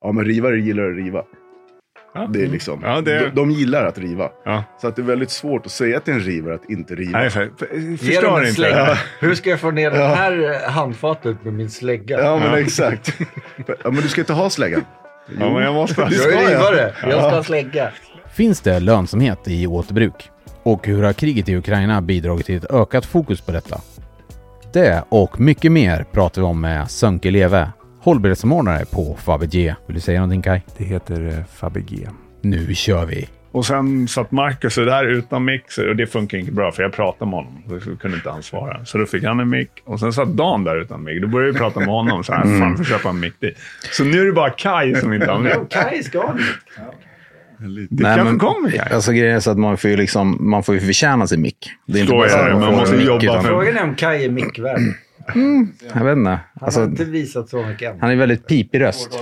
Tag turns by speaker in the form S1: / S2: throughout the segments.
S1: Ja, men rivare gillar att riva.
S2: Ja.
S1: Det är liksom,
S2: Ja, det är-
S1: De, de gillar att riva.
S2: Ja.
S1: Så att det är väldigt svårt att säga till en rivare att inte riva.
S2: Nej, för, för,
S3: Ge dem
S2: förstår
S3: en
S2: inte.
S3: slägga.
S2: Ja.
S3: Hur ska jag få ner det här eh, handfatet med min slägga?
S1: Ja, men
S2: Ja.
S1: exakt. ja, men du ska inte ha släggan.
S2: Ja, men jag måste.
S1: Det
S3: jag
S1: ska
S3: är
S1: jag.
S3: rivare, jag ska ha slägga.
S4: Finns det lönsamhet i återbruk? Och hur har kriget i Ukraina bidragit till ett ökat fokus på detta? Det och mycket mer pratar vi om med Sönke Leve, hållbarhetssamordnare på Fabege. Vill du säga någonting Kai?
S5: Det heter eh, Fabege.
S4: Nu kör vi!
S2: Och sen satt Marcus där utan mick så- och det funkar inte bra för jag pratade med honom. Då kunde inte han svara. Så då fick han en mick och sen satt Dan där utan mick. Då började vi prata med honom. Så här,
S1: Mm.
S2: fan, vi får köpa en mick dit. Så nu är det bara Kai som inte har mick.
S3: Kaj ska ha mitt.
S2: Det
S6: Nej,
S2: kanske
S6: men-
S2: kommer Kai.
S6: Alltså grejen är så att man får ju liksom, man får ju förtjäna sin mick. Det
S2: Så är
S6: så att
S2: det,
S6: man
S2: man
S6: får
S2: måste
S6: en mick,
S2: jobba
S6: utan-
S2: för-
S3: Frågan är om Kaj är mickvärd. Han
S6: Jag vet inte. Alltså,
S3: har inte visat så mycket än.
S6: han är väldigt pipig röst.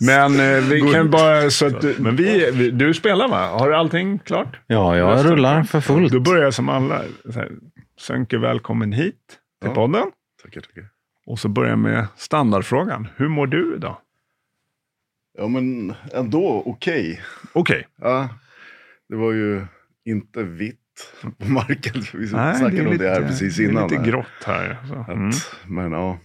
S2: Men eh, vi kan bara... Så att, men vi, vi, du spelar va? Har du allting klart?
S6: Ja, jag
S2: Rösten.
S6: rullar för fullt.
S2: Då börjar jag som alla. Så här, Sönke, välkommen hit till
S1: Ja.
S2: podden.
S1: Tackar, tackar.
S2: Och så börjar jag med standardfrågan. Hur mår du idag?
S1: Ja, men ändå okej.
S2: Okej.
S1: Ja, det var ju inte vitt på marken. Vi
S2: Nej,
S1: snackade
S2: är
S1: om det här
S2: lite-
S1: precis innan.
S2: Det är
S1: här.
S2: lite grått här. Så.
S1: Att,
S2: Mm.
S1: Men ja,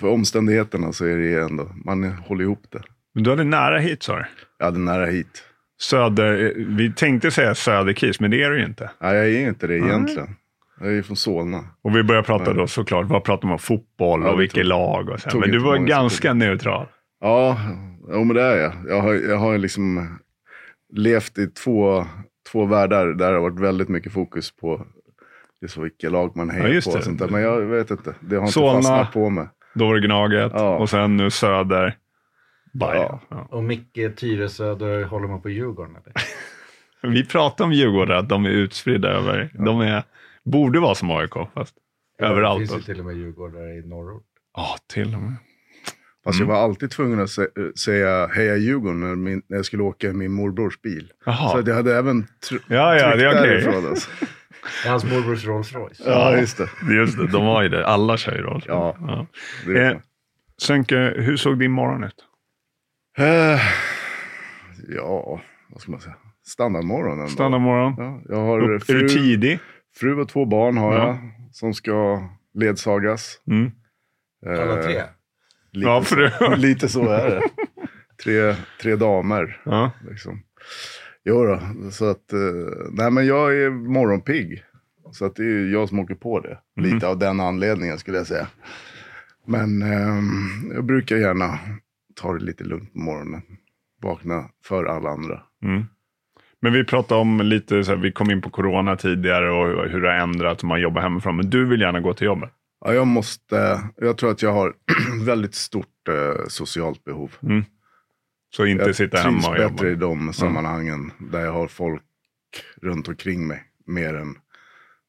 S1: för omständigheterna så är det ju ändå, man håller ihop det.
S2: Men Du hade nära hit sa du.
S1: Jag hade nära hit.
S2: Söder, eh, vi tänkte säga Söderkis, men det är det ju inte.
S1: Nej, jag är inte det egentligen. Jag är ju från Solna.
S2: Och vi började prata
S1: Nej.
S2: då såklart, vad pratar man om? Fotboll
S1: Ja,
S2: och
S1: vi
S2: vilket
S1: tog-
S2: lag och så. här.
S1: tog
S2: Men du
S1: inte
S2: var
S1: många
S2: ganska neutral.
S1: Ja, jo, men det är jag. Jag har, jag har liksom levt i två, två världar där det har varit väldigt mycket fokus på just vilka lag man hejar
S2: just
S1: på.
S2: det.
S1: Och sånt där. Men jag vet inte, det har inte
S2: Solna.
S1: fastnat på mig.
S2: Då var det Gnaget
S1: Ja.
S2: och sen nu Söder. Bayern.
S1: Ja.
S2: Ja.
S3: Och Micke Tyresö, då håller man på Djurgården eller?
S2: Vi pratade om Djurgården, att de är utspridda över. De är, borde vara som AIK, fast
S3: Det
S2: överallt.
S3: finns ju
S2: alltså.
S3: till och med djurgårdare i norrort.
S2: Ja, till och med.
S1: Fast
S2: Mm.
S1: jag var alltid tvungen att sä- säga heja Djurgården när, min, när jag skulle åka i min morbrors bil. Så
S2: Jaha.
S1: att jag hade även tr-
S2: Ja, ja, det är okej.
S1: alltså.
S3: Det är hans morbrors Rolls Royce.
S1: Ja, just det.
S2: Just det, de har ju det. Alla kör ju roll.
S1: Ja.
S2: Ja.
S1: det vet
S2: Eh, Sönke, hur såg din morgon ut?
S1: man. Eh, ja, vad ska man säga? Standardmorgon ändå.
S2: Standardmorgon.
S1: Ja, jag har
S2: Upp- Är
S1: fru,
S2: du tidig?
S1: fru och två barn har
S2: Ja.
S1: jag som ska ledsagas.
S2: Mm.
S1: Eh,
S3: Alla tre.
S1: Lite,
S2: Ja, fru.
S1: så, lite så är det. Tre, tre damer.
S2: Ja.
S1: Liksom. Jo då, så att, eh, nej men jag är morgonpigg. Så att det är jag som åker på det.
S2: Mhm.
S1: Lite av den anledningen skulle jag säga. Men ehm, jag brukar gärna ta det lite lugnt på morgonen. Vakna för alla andra.
S2: Mm. Men vi pratade om lite, så här, vi kom in på corona tidigare och hur- hur det har ändrats om man jobbar hemifrån. Men du vill gärna gå till jobbet.
S1: Ja, jag måste, jag tror att jag har väldigt stort eh, socialt behov.
S2: Mm. Så inte
S1: Jag
S2: sitta
S1: trivs
S2: hemma och
S1: bättre i
S2: jobba.
S1: de sammanhangen där jag har folk runt omkring mig. Mer än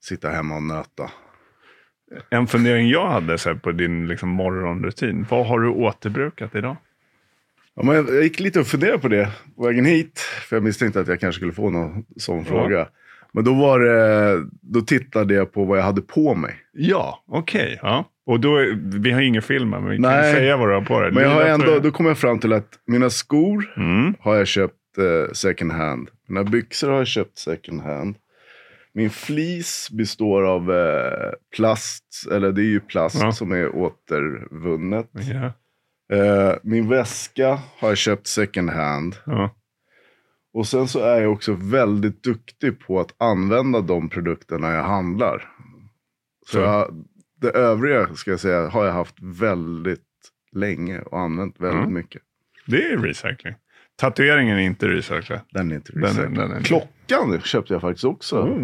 S1: sitta hemma och nöta.
S2: En fundering jag hade så här, på din liksom, morgonrutin. Vad har du återbrukat idag?
S1: Ja, men jag, jag gick lite och funderade på det på vägen hit. För jag misstänkte att jag kanske skulle få någon sån fråga. Men då, var det, då tittade jag på vad jag hade på mig.
S2: Ja, okej. Ja. Och då, är- vi har ingen film här, men vi kan ju
S1: Nej.
S2: säga vad du har på dig.
S1: Men jag har
S2: Lila
S1: ändå,
S2: tröja.
S1: då kom jag fram till att mina skor
S2: Mm.
S1: har jag köpt eh, second hand. Mina byxor har jag köpt second hand. Min fleece består av eh, plast, eller det är ju plast
S2: Ja. Mm.
S1: som är återvunnet.
S2: Ja.
S1: Eh, min väska har jag köpt second hand.
S2: Ja.
S1: Och sen så är jag också väldigt duktig på att använda de produkterna jag handlar. Så
S2: Så.
S1: jag, det övriga ska jag säga har jag haft väldigt länge och använt väldigt
S2: Mm.
S1: mycket.
S2: Det är recycling. Tatueringen är inte recycling.
S1: Den är inte
S2: Den är-
S1: recyclad.
S2: den är Mm. inte-
S1: Klockan köpte jag faktiskt också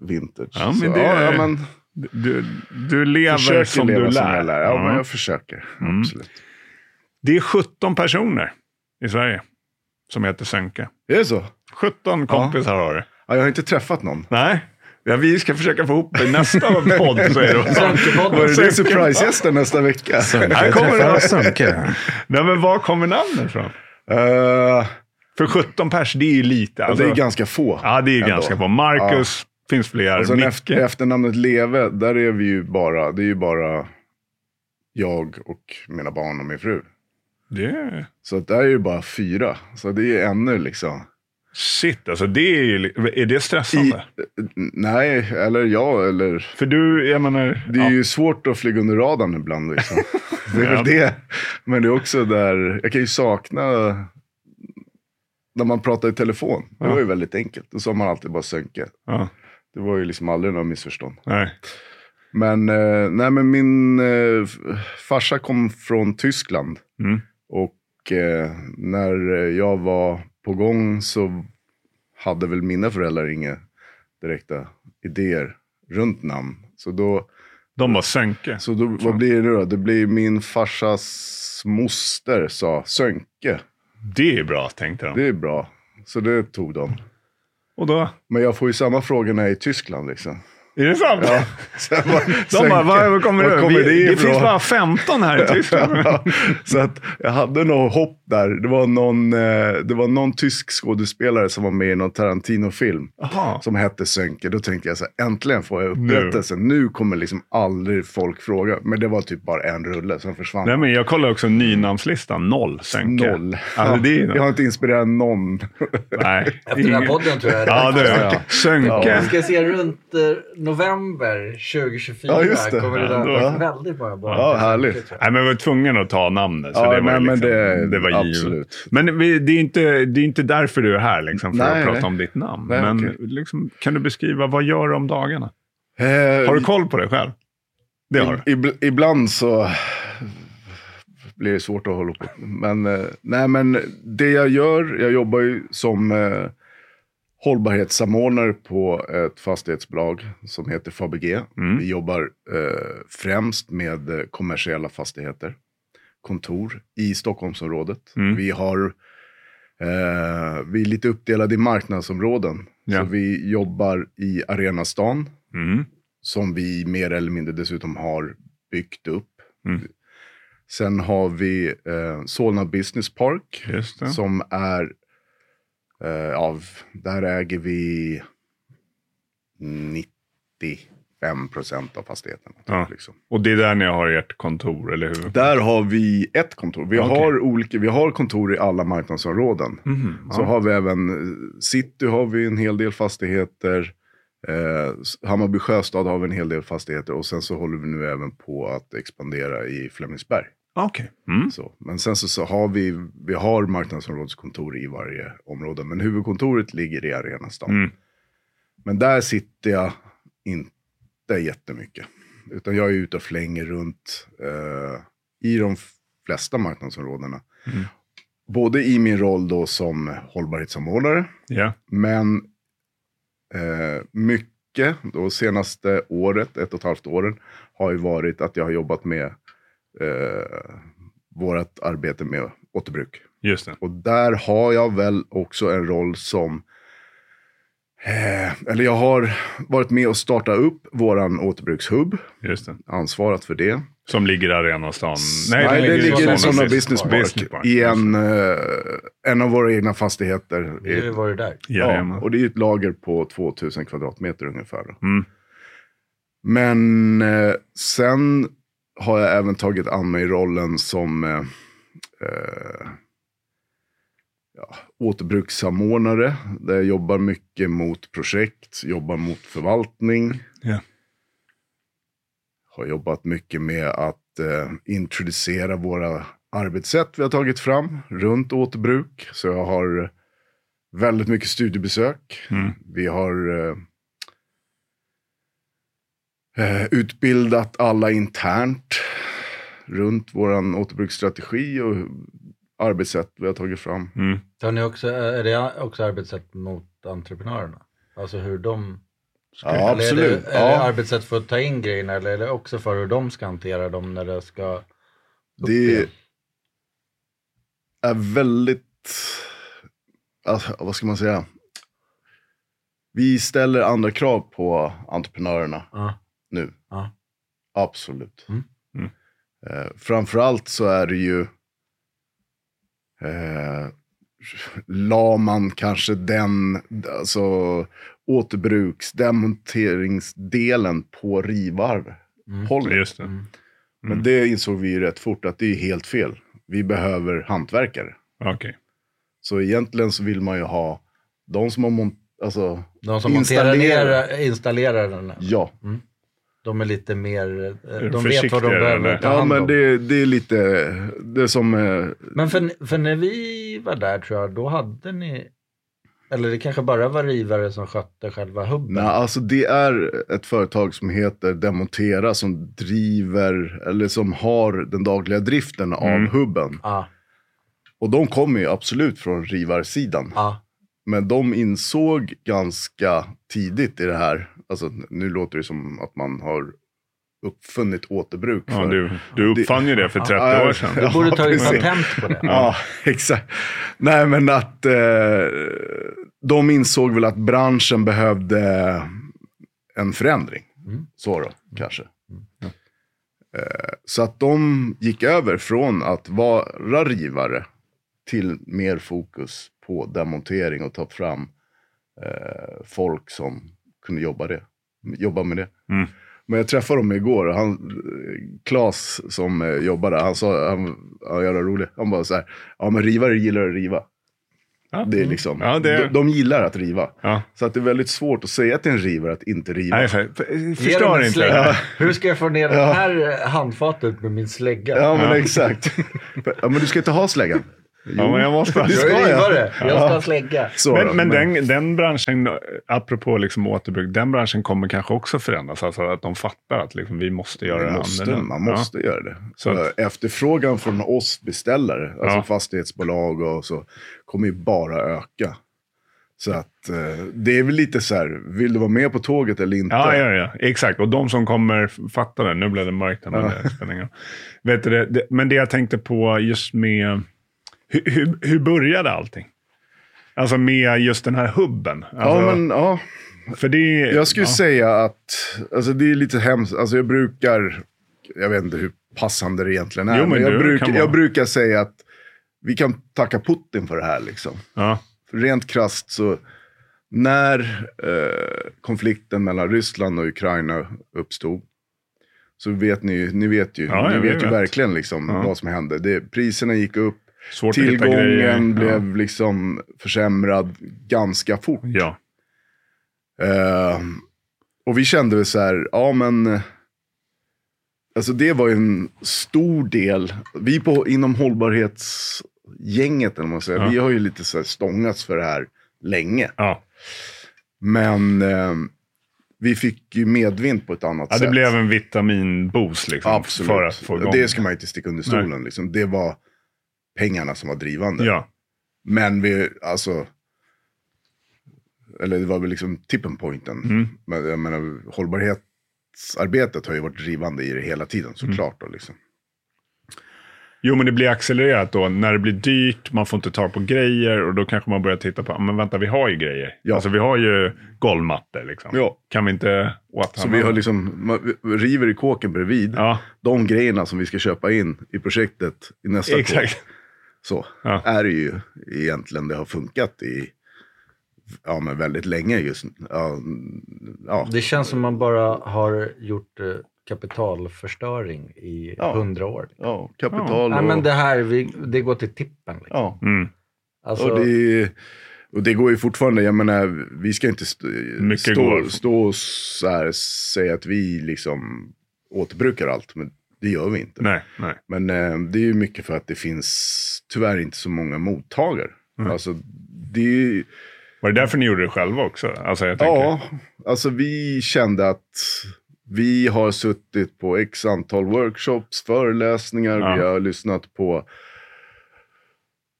S1: vintage.
S2: Ja, men
S1: så,
S2: det
S1: ja,
S2: är-
S1: ja, men
S2: Du, du lever
S1: försöker
S2: som
S1: leva
S2: du
S1: som
S2: lär.
S1: jag lär. Ja, men
S2: Ja.
S1: jag försöker.
S2: Mm.
S1: Absolut.
S2: Det är 17 personer i Sverige som heter Sönke.
S1: Är det så?
S2: 17 kompisar har du.
S1: Ja, jag har inte träffat någon.
S2: Nej, ja, vi ska försöka få ihop det. Nästa podd så är det
S3: Sönkepodden.
S1: Var det din surprisegästen nästa vecka? Eh,
S2: Här
S6: Jag
S2: kommer
S6: träffar
S2: det.
S6: Sönke.
S2: Nej, men var kommer namnen ifrån?
S1: Eh,
S2: För 17 pers, det är ju lite.
S1: Ja,
S2: Alltså,
S1: det är ganska få. Alltså,
S2: ja, det är
S1: ändå.
S2: ganska bra. Marcus, finns fler.
S1: Och sen efter,
S2: Micke.
S1: efternamnet Leve, där är vi ju bara, det är ju bara jag och mina barn och min fru.
S2: Det är...
S1: Så att det är ju bara fyra. Så det är ju ännu liksom.
S2: Shit, alltså det är ju... li- Är det
S1: I,
S2: stressande?
S1: nej, eller jag, eller...
S2: För du, jag menar...
S1: Det är ju svårt att flyga under radarn ibland. Liksom. Det är
S2: Ja.
S1: väl det. Men det är också där, jag kan ju sakna när man pratar i telefon. Det
S2: Ja.
S1: var ju väldigt enkelt. Då sa man alltid bara sönke.
S2: Ja,
S1: Det var ju liksom aldrig några missförstånd.
S2: nej.
S1: Men, eh, nej, men min eh, f- farsa kom från Tyskland.
S2: Mm.
S1: Och eh, när jag var på gång så hade väl mina föräldrar inga direkta idéer runt namn. Så då
S2: De bara sänker.
S1: så då, vad blir det nu då? Det blir min farsas moster sa Sönke.
S2: Det är bra, tänkte de.
S1: Det är bra. Så det tog de.
S2: Och då?
S1: Men jag får ju samma fråga när jag är i Tyskland liksom.
S2: Är det sant?
S1: Så jag bara,
S2: De
S1: Sönke,
S2: bara, var, var kommer
S1: var
S2: du?
S1: kommer
S2: Vi,
S1: det
S2: det
S1: ifrån?
S2: finns bara 15 här i Tyskland.
S1: Ja, så att jag hade nog hopp där. Det var, någon, eh, det var någon tysk skådespelare som var med i någon Tarantino-film
S2: Jaha.
S1: som hette Sönke. Då tänkte jag så här, äntligen får jag upprättelse. Nu. kommer liksom aldrig folk fråga. Men det var typ bara en rulle, sen försvann
S2: Nej, men jag kollar också nynamnslistan. Noll sänke.
S1: Noll.
S2: Alltså, det är ju
S1: jag har inte inspirerat någon.
S2: Nej.
S3: Efter den här
S2: Ingen-
S3: podden tror jag.
S2: Ja, det är jag.
S1: Ja.
S2: Sönke.
S3: Vi ska se runt eh, november 2024
S1: Ja, just det.
S3: kommer det där
S1: Ja, då-
S3: väldigt många barn.
S1: Ja, härligt.
S2: Nej, men vi var tvungna att ta namnet. Så
S1: Ja,
S2: det
S1: nej,
S2: var, ju
S1: men
S2: liksom,
S1: det-
S2: var givet.
S1: absolut.
S2: Men vi, det är, inte, det är inte därför du är här, liksom, för
S1: Nej,
S2: att prata
S1: nej.
S2: om ditt namn.
S1: Nej,
S2: men
S1: okej.
S2: liksom, kan du beskriva, vad gör du om dagarna?
S1: Eh,
S2: Har du koll på dig själv? Det har du.
S1: ib- Ibland så blir det svårt att hålla på. Men, eh, nej, men det jag gör, jag jobbar ju som eh, hållbarhetssamordnare på ett fastighetsbolag som heter Fabege.
S2: Mm.
S1: Vi jobbar eh, främst med eh, kommersiella fastigheter, kontor i Stockholmsområdet.
S2: Mm.
S1: Vi, har, eh, vi är lite uppdelade i marknadsområden.
S2: Ja.
S1: Så vi jobbar i Arenastan
S2: Mm.
S1: som vi mer eller mindre dessutom har byggt upp.
S2: Mm.
S1: Sen har vi eh, Solna Business Park
S2: Just det.
S1: som är eh, av, där äger vi 95 procent av fastigheterna. typ,
S2: Ja.
S1: Liksom.
S2: Och det är där ni har ert kontor, eller hur?
S1: Där har vi ett kontor. Vi,
S2: Okej.
S1: har olika, vi har kontor i alla marknadsområden.
S2: Mhm, ja.
S1: Så har vi även eh, city, har vi en hel del fastigheter. Eh, s- Hammarby sjöstad har vi en hel del fastigheter och sen så håller vi nu även på att expandera i Flemingsberg.
S2: Okej. Mm.
S1: Så. Men sen så, så har vi, vi har marknadsområdeskontor i varje område, men huvudkontoret ligger i Arenastan.
S2: Mm.
S1: Men där sitter jag inte jättemycket, utan jag är ute och flänger runt eh, i de flesta marknadsområdena.
S2: Mm.
S1: Både i min roll då som hållbarhetssamordnare,
S2: Ja.
S1: men eh, mycket, då senaste året, ett och ett halvt åren, har ju varit att jag har jobbat med eh, vårt arbete med återbruk.
S2: Just det.
S1: Och där har jag väl också en roll som... Eh, eller jag har varit med och starta upp våran återbrukshubb,
S2: Just det.
S1: ansvarat för det.
S2: Som ligger i Arenastan.
S1: Mm. Nej, det,
S2: i
S1: ligger i
S2: Solna
S1: sådana business park, i en, eh, en av våra egna fastigheter.
S3: Nu var du där.
S1: Ja,
S2: Jajamän.
S1: och det är ju ett lager på 2000 kvadratmeter ungefär. då.
S2: Mm.
S1: Men eh, sen har jag även tagit an mig rollen som eh, eh, ja, återbrukssamordnare. Där jag jobbar mycket mot projekt, jobbar mot förvaltning.
S2: Ja.
S1: Har jobbat mycket med att eh, introducera våra arbetssätt vi har tagit fram runt återbruk. Så jag har väldigt mycket studiebesök.
S2: Mm.
S1: Vi har eh, eh, utbildat alla internt runt vår återbruksstrategi och arbetssätt vi har tagit fram.
S2: Mm.
S3: Har ni också, är det också arbetssätt mot entreprenörerna? Alltså hur de...
S1: Ja,
S3: Eller är
S1: absolut.
S3: det, är det
S1: Ja,
S3: arbetssätt för att ta in grejerna eller är det också för hur de ska hantera dem när det ska...
S1: det är väldigt, alltså, vad ska man säga? Vi ställer andra krav på entreprenörerna.
S3: Ja.
S1: nu.
S3: Ja.
S1: Absolut.
S3: Mm.
S2: Mm.
S1: Eh, framförallt så är det ju, eh, la man kanske den, alltså återbruks, demonteringsdelen på rivar.
S3: Mm.
S1: hållet.
S2: Just det.
S3: Mm.
S1: Men det insåg vi ju rätt fort att det är helt fel. Vi behöver hantverkare.
S2: Okej.
S1: Så egentligen så vill man ju ha de som har mont- alltså,
S3: De som monterar
S1: Installera.
S3: ner, installerar den,
S1: ja.
S3: de är lite mer... eh, De vet vad de
S2: Försiktigare,
S1: Ja,
S2: eller?
S3: behöver ta hand
S1: men
S3: om.
S1: det, det är lite, det är som, eh,
S3: Men för, för när vi var där tror jag, då hade ni... Eller det kanske bara var rivare som skötte själva hubben.
S1: nej, alltså det är ett företag som heter Demontera som driver, eller som har den dagliga driften av
S2: Mm.
S1: hubben.
S3: Ja,
S1: Och de kommer ju absolut från rivarsidan.
S3: ja.
S1: Men de insåg ganska tidigt i det här, alltså nu låter det som att man har uppfunnit återbruk.
S2: Ja,
S1: för-
S2: du, du uppfann ju det för 30
S1: Ja,
S2: år sedan.
S1: ja.
S3: Du borde tagit
S1: precis.
S3: patent på det.
S1: Ja, exakt. Nej, men att eh, de insåg väl att branschen behövde en förändring.
S3: Mm.
S1: Så då, kanske. Eh, så att de gick över från att vara rivare till mer fokus på demontering och ta fram eh, folk som kunde jobba, det, jobba med det.
S2: Mm.
S1: Men jag träffade dem igår och han, Klas som eh, jobbar där, han sa, han, han jävla rolig, han bara så här, ja men rivare gillar att riva.
S2: Ja.
S1: Det är liksom,
S2: Mm. Ja, det är-
S1: De, de gillar att riva.
S2: Ja.
S1: Så att det är väldigt svårt att säga till en rivare att inte riva.
S2: Nej, för, för,
S3: Ge dem
S2: förstår
S3: en
S2: inte.
S3: slägga.
S2: Ja.
S3: Hur ska jag få ner det här handfatet med min slägga?
S1: Ja men
S2: Ja.
S1: exakt. ja men du ska inte ha släggan.
S2: Ja, men jag måste.
S1: det
S3: jag
S1: ska
S3: är
S1: jag.
S3: rivare, jag ska ha slägga.
S1: Så då,
S2: Men, men den, den branschen, apropå liksom återbruk, den branschen kommer kanske också förändras. Alltså att de fattar att liksom, vi måste göra
S1: Man
S2: det
S1: måste,
S2: annorlunda.
S1: man måste göra det.
S2: Så att-
S1: Efterfrågan från oss beställare, alltså
S2: Ja.
S1: fastighetsbolag och så, kommer ju bara öka. Så att eh, det är väl lite så här, vill du vara med på tåget eller inte?
S2: Ja, ja, ja, exakt. Och de som kommer fatta det. Nu blev det mörkt. här, Men, det spelar ingen roll. Vet du, det, det, men det jag tänkte på just med... Hur, hur, hur började allting? Alltså med just den här hubben. Alltså,
S1: ja, men, ja.
S2: för det,
S1: Jag skulle
S2: ja.
S1: säga att, alltså det är lite hemskt, alltså jag brukar, jag vet inte hur passande det egentligen är,
S2: Jo, men
S1: jag,
S2: du
S1: brukar,
S2: kan
S1: jag
S2: vara-
S1: brukar säga att vi kan tacka Putin för det här liksom.
S2: Ja,
S1: rent krasst så när eh, konflikten mellan Ryssland och Ukraina uppstod så vet ni ju, ni vet ju,
S2: Ja,
S1: ni
S2: ja, vi
S1: vet ju
S2: vet.
S1: verkligen liksom
S2: Ja.
S1: vad som hände. Det, priserna gick upp,
S2: svårt att hitta grejer.
S1: tillgången blev liksom försämrad ganska fort.
S2: Ja. ja.
S1: Eh, och vi kände väl så här, ja men, eh, alltså det var ju en stor del. Vi på, inom hållbarhetsgänget, eller vad man säger,
S2: Ja.
S1: vi har ju lite så här stångats för det här länge.
S2: Ja.
S1: Men eh, vi fick ju medvind på ett annat
S2: ja,
S1: sätt.
S2: det blev en vitaminboost liksom,
S1: Absolut.
S2: för att få igång
S1: det ska man inte sticka under stolen.
S2: Nej.
S1: Liksom. Det var pengarna som var drivande.
S2: Ja,
S1: Men vi, alltså, eller det var väl liksom tippen pointen.
S2: Mm.
S1: Men jag menar, hållbarhetsarbetet har ju varit drivande i det hela tiden
S2: Mm.
S1: såklart. Då, liksom.
S2: Jo, men det blir accelererat då. När det blir dyrt, man får inte tag på grejer och då kanske man börjar titta på, "Ah, men vänta, vi har ju grejer.
S1: Ja.
S2: Alltså vi har ju golvmattor liksom.
S1: Ja.
S2: Kan vi inte återanvända?
S1: Så vi har liksom, man vi river i kåken bredvid.
S2: Ja,
S1: De grejerna som vi ska köpa in i projektet i nästa kåk.
S2: exakt.
S1: Så
S2: Ja.
S1: är det ju egentligen. Det har funkat i ja, men väldigt länge just ja, ja.
S3: Det känns som man bara har gjort eh, kapitalförstöring i
S1: Ja.
S3: hundra år.
S1: ja, kapital
S3: Nej,
S1: och...
S3: men det här, vi, det går till tippen. Liksom.
S1: ja.
S2: Mm.
S3: Alltså,
S1: och, det, och det går ju fortfarande. Jag menar, vi ska inte st-
S2: Mycket
S1: stå,
S2: går.
S1: stå och så här, säga att vi liksom återbrukar allt. Men det gör vi inte.
S2: Nej, nej.
S1: Men eh, det är ju mycket för att det finns tyvärr inte så många mottagare. Alltså, det är ju...
S2: Var det därför ni gjorde det själva också? Alltså, jag tänker,
S1: Ja, alltså vi kände att vi har suttit på x antal workshops, föreläsningar,
S2: Ja.
S1: vi har lyssnat på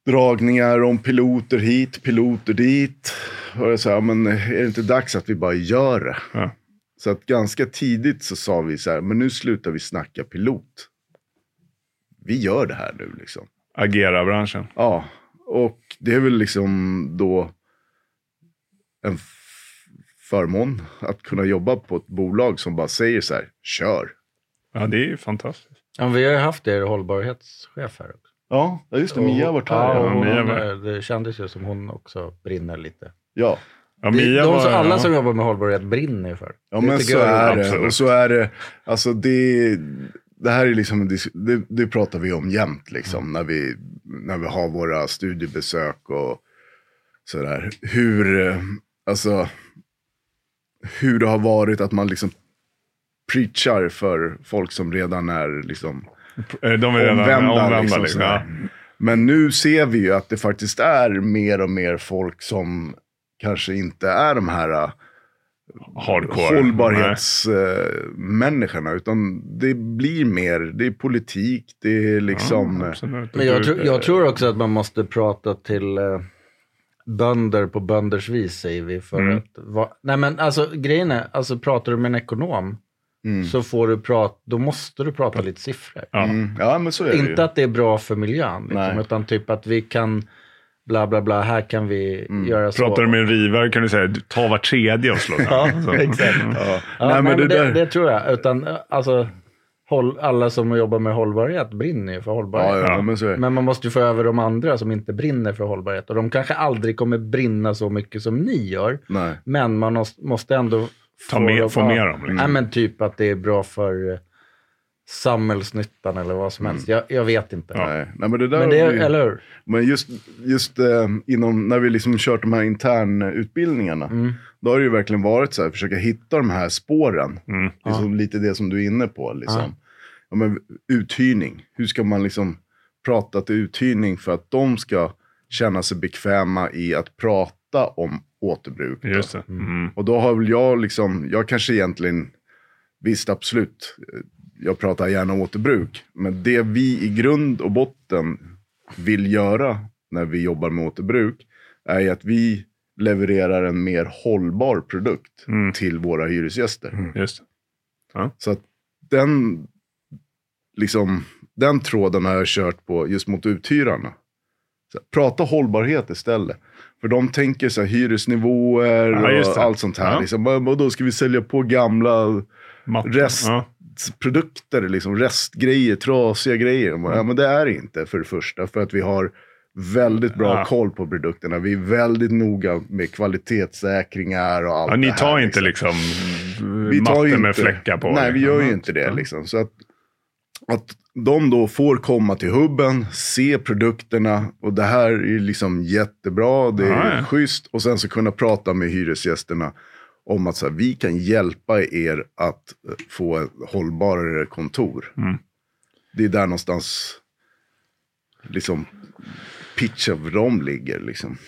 S1: dragningar om piloter hit, piloter dit. Och jag sa, ja, men är det inte dags att vi bara gör det?
S2: Ja.
S1: Så att ganska tidigt så sa vi så här, men nu slutar vi snacka pilot. Vi gör det här nu liksom.
S2: Agera-branschen.
S1: Ja, och det är väl liksom då en f- förmån att kunna jobba på ett bolag som bara säger så här, kör.
S2: Ja, det är ju fantastiskt.
S3: ja, vi har ju haft er hållbarhetschef här också.
S1: Ja, just
S3: Ja, och
S2: Ja,
S3: hon,
S2: Mia var-
S3: eh, det kändes ju som hon också brinner lite.
S1: Ja,
S2: Ja,
S3: Det-
S2: Mia
S3: de,
S2: var,
S3: som, alla
S2: ja.
S3: som jobbar med hållbarhet brinner ju för.
S1: ja
S3: Det
S1: men
S3: tycker
S1: så
S3: jag är
S1: är det.
S2: absolut.
S1: Och så är det, alltså det, det här är liksom, en dis- det, det pratar vi om jämt
S2: Mm.
S1: liksom när vi, när vi har våra studiebesök och sådär. Hur, eh, alltså, hur det har varit att man liksom preachar för folk som redan är liksom
S2: Eh, De är redan
S1: omvända.
S2: omvända.
S1: liksom,
S2: liksom,
S1: sådär.
S2: ja.
S1: Men nu ser vi ju att det faktiskt är mer och mer folk som kanske inte är de här eh,
S2: Hardcore.
S1: hållbarhetsmänniskorna. Utan det blir mer, det är politik, det är
S2: Nej.
S1: liksom...
S3: Ah,
S2: Ja, absolut.
S3: Men jag, tror- jag tror också att man måste prata till eh, bönder på bönders vis, säger vi. För
S2: Mm.
S3: att, va, nej men alltså, grejen är, alltså, pratar du med en ekonom
S1: mm,
S3: så får du prata, då måste du prata lite siffror.
S2: Ja.
S1: mm, ja, men så är det ju.
S3: Inte att det är bra för miljön, liksom,
S1: Nej.
S3: utan typ att vi kan bla bla bla, här kan vi
S1: Mm.
S3: göra så.
S2: Pratar du med en rivare kan du säga du, ta var tredje och slå.
S3: Ja, exakt.
S1: Ja.
S3: Ja,
S1: nej, men det,
S3: det,
S1: där...
S3: det tror jag. Utan, eh, alltså, håll, alla som jobbar med hållbarhet brinner ju för hållbarhet.
S1: ja, ja,
S2: Ja.
S1: men så är det.
S3: Men man måste ju få över de andra som inte brinner för hållbarhet. Och de kanske aldrig kommer brinna så mycket som ni gör.
S1: Nej.
S3: Men man måste- måste ändå
S2: Ta med,
S3: dem-
S2: få
S3: ja.
S2: med dem. Liksom.
S3: Nej, men typ att det är bra för eh, samhällsnyttan eller vad som
S2: Mm.
S3: helst. Jag, jag vet inte.
S1: Nej. nej, men det där...
S3: Men det
S1: har
S3: är,
S1: vi-
S3: eller hur?
S1: Men just, just eh, inom, när vi liksom kört de här internutbildningarna,
S3: Mm.
S1: då har det ju verkligen varit så här, försöka hitta de här spåren.
S2: Mm.
S1: Liksom Lite det som du är inne på. Liksom.
S3: Ja.
S1: Ja, men uthyrning, hur ska man liksom prata till uthyrning för att de ska känna sig bekväma i att prata om återbruk? då?
S2: Just det. Mm.
S1: Och då har väl jag liksom, jag kanske egentligen, visst absolut, eh, jag pratar gärna återbruk. Men det vi i grund och botten vill göra när vi jobbar med återbruk är ju att vi levererar en mer hållbar produkt
S2: Mm.
S1: till våra hyresgäster.
S2: Just det.
S1: Så att den, liksom, den tråden har jag kört på just mot uthyrarna. Så här, prata hållbarhet istället. För de tänker så här, hyresnivåer
S2: Ja, just
S1: och
S2: det.
S1: allt sånt här.
S2: Ja.
S1: Liksom, "Vad- vadå, ska vi sälja på gamla
S2: Matt-
S1: Rest.
S2: Ja.
S1: produkter, liksom, restgrejer, trasiga grejer? Jag bara, Ja, men det är det inte för det första. För att vi har väldigt bra
S2: Ja.
S1: koll på produkterna. Vi är väldigt noga med kvalitetssäkringar och allt
S2: Ja, ni
S1: det här,
S2: tar
S1: liksom.
S2: inte liksom
S1: vi
S2: matte
S1: tar ju
S2: med
S1: inte-
S2: fläckar på?
S1: Nej, vi
S2: liksom.
S1: gör ju inte det. Liksom. Så att, att de då får komma till hubben, se produkterna och det här är liksom jättebra, det är
S2: Ja, ja.
S1: schysst. Och sen så kunna prata med hyresgästerna om att så här, vi kan hjälpa er att eh, få ett hållbarare kontor.
S2: Mm.
S1: Det är där någonstans liksom pitchen för dem ligger. Liksom.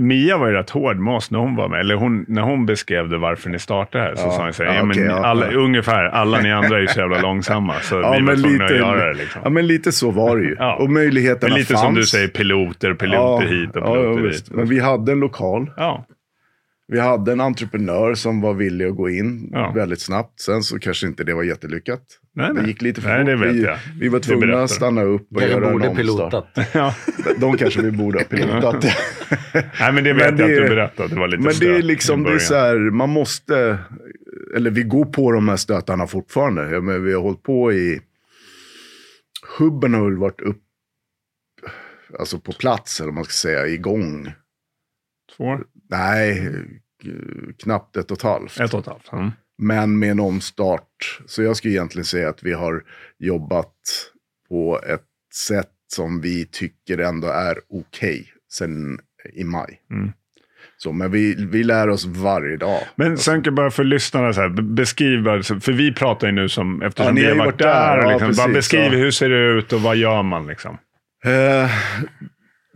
S2: Mia var ju rätt hård med oss när hon var med. Eller hon, när hon beskrev det varför ni startade här så
S1: Ja.
S2: sa hon så här,
S1: Ja,
S2: ja, men
S1: okej, ja,
S2: alla,
S1: ja."
S2: ungefär alla ni andra är ju så jävla långsamma så vi var tvungna att göra det. Liksom.
S1: ja, men lite så var det ju.
S2: Ja.
S1: Och
S2: men
S1: möjligheterna
S2: lite
S1: fanns.
S2: som du säger, piloter, piloter hit och piloter
S1: ja,
S2: dit.
S1: visst. Men vi hade en lokal.
S2: Ja,
S1: Vi hade en entreprenör som var villig att gå in
S2: Ja.
S1: väldigt snabbt. Sen så kanske inte det var jättelyckat.
S2: Nej, nej.
S1: Det gick lite för
S2: Nej,
S1: fort.
S2: det vet
S1: vi,
S2: jag.
S1: vi var
S2: Det
S1: tvungna
S2: berättar.
S1: att stanna upp och
S3: Kanske
S1: göra en
S3: borde
S1: omstart.
S3: pilotat.
S2: ja.
S1: De kanske vi borde ha pilotat.
S2: Nej, men det
S1: Men
S2: vet jag
S1: det-
S2: att du berättade. att Det var lite
S1: Men det är
S2: stökigt i
S1: liksom, det är
S2: början.
S1: så här, man måste, eller vi går på de här stötarna fortfarande. Ja, men vi har hållit på i, hubben har väl varit upp, alltså på plats eller vad man ska säga, igång.
S2: Två år?
S1: Nej, eh, knappt ett och ett halvt.
S2: Ett och ett halvt. Mm.
S1: Men med en omstart. Så jag skulle egentligen säga att vi har jobbat på ett sätt som vi tycker ändå är okej sen i maj.
S2: Mm.
S1: Så, men vi, vi lär oss varje dag.
S2: Men Sönke, bara för lyssnarna, så här, be- beskriv, alltså, för vi pratar ju nu som, eftersom
S1: Ja, ni
S2: vi
S1: har
S2: har
S1: ju
S2: varit
S1: varit
S2: där,
S1: där, ja,
S2: liksom, bara
S1: precis,
S2: beskriv
S1: ja.
S2: hur ser det ut och vad gör man liksom?
S1: Eh,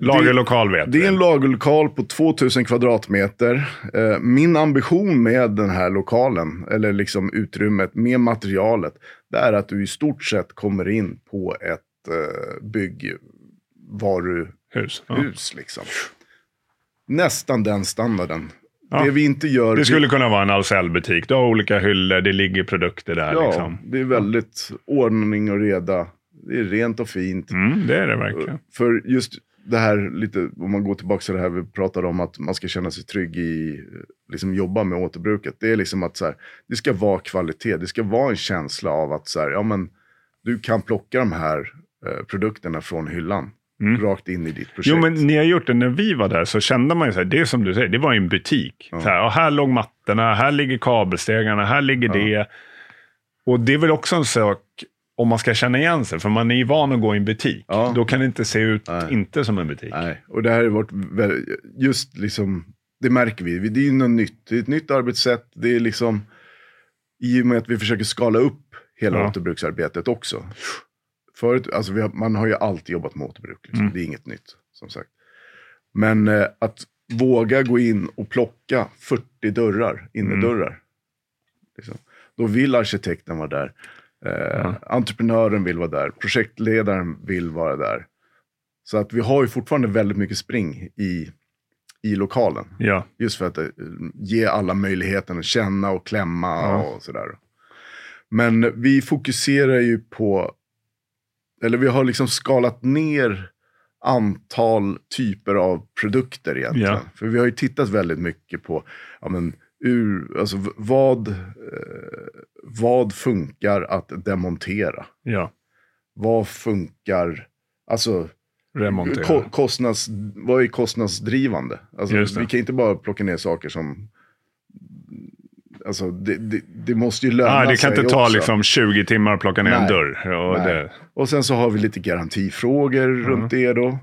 S2: Lagerlokal vet
S1: det är
S2: vi.
S1: en lagerlokal på 2000 kvadratmeter. Eh, min ambition med den här lokalen, eller liksom utrymmet, med materialet, det är att du i stort sett kommer in på ett eh, byggvaru
S2: hus. Ja.
S1: hus. Liksom. Nästan den standarden.
S2: Ja.
S1: Det vi inte gör...
S2: Det skulle kunna vara en Ahlsell-butik. Du har olika hyllor, det ligger produkter där.
S1: ja,
S2: Liksom.
S1: det är väldigt ordning och reda. Det är rent och fint.
S2: Mm, det är det verkligen.
S1: För just det här, lite, om man går tillbaka till det här vi pratade om, att man ska känna sig trygg i eh, liksom jobba med återbruket. Det är liksom att så här, det ska vara kvalitet. Det ska vara en känsla av att så här, ja, men, du kan plocka de här eh, produkterna från hyllan.
S2: Mm.
S1: Rakt in i ditt projekt.
S2: Jo, men ni har gjort det. När vi var där så kände man ju så här, det är som du säger, det var ju en butik.
S1: Ja.
S2: Så här, och här låg mattorna, här ligger kabelstegarna, här ligger det. Och det är väl också en sak om man ska känna igen sig, för man är ju van att gå i en butik,
S1: Ja.
S2: då kan det inte se ut
S1: Nej.
S2: inte som en butik.
S1: Nej, och det här har varit vä- just liksom, det märker vi. Vi- Det är ju något nytt. Det är ett nytt arbetssätt. Det är liksom, i och med att vi försöker skala upp hela
S2: Ja.
S1: återbruksarbetet också. Förut, alltså vi har, man har ju alltid jobbat med återbruk. Liksom.
S2: Mm.
S1: Det är inget nytt, som sagt. Men eh, att våga gå in och plocka 40 dörrar, innerdörrar.
S2: Mm.
S1: Liksom. Då vill arkitekten vara där. Eh,
S2: Ja.
S1: Entreprenören vill vara där. Projektledaren vill vara där. Så att vi har ju fortfarande väldigt mycket spring i, i lokalen.
S2: Ja.
S1: Just för att eh, ge alla möjligheten att känna och klämma
S2: Ja.
S1: och sådär. Men vi fokuserar ju på, eller vi har liksom skalat ner antal typer av produkter egentligen.
S2: Ja.
S1: För vi har ju tittat väldigt mycket på, ja men, ur, alltså, v- vad, eh, vad funkar att demontera?
S2: ja.
S1: Vad funkar, alltså
S2: Remontera.
S1: Ko kostnads, vad är kostnadsdrivande? Alltså,
S2: Just det.
S1: vi kan inte bara plocka ner saker som... Alltså, det, det, det måste ju löna
S2: ah, det
S1: sig
S2: kan inte ta
S1: också.
S2: liksom 20 timmar att plocka ner en
S1: Nej.
S2: dörr. Och
S1: Nej.
S2: det,
S1: Och sen så har vi lite garantifrågor
S2: Mm.
S1: runt det då.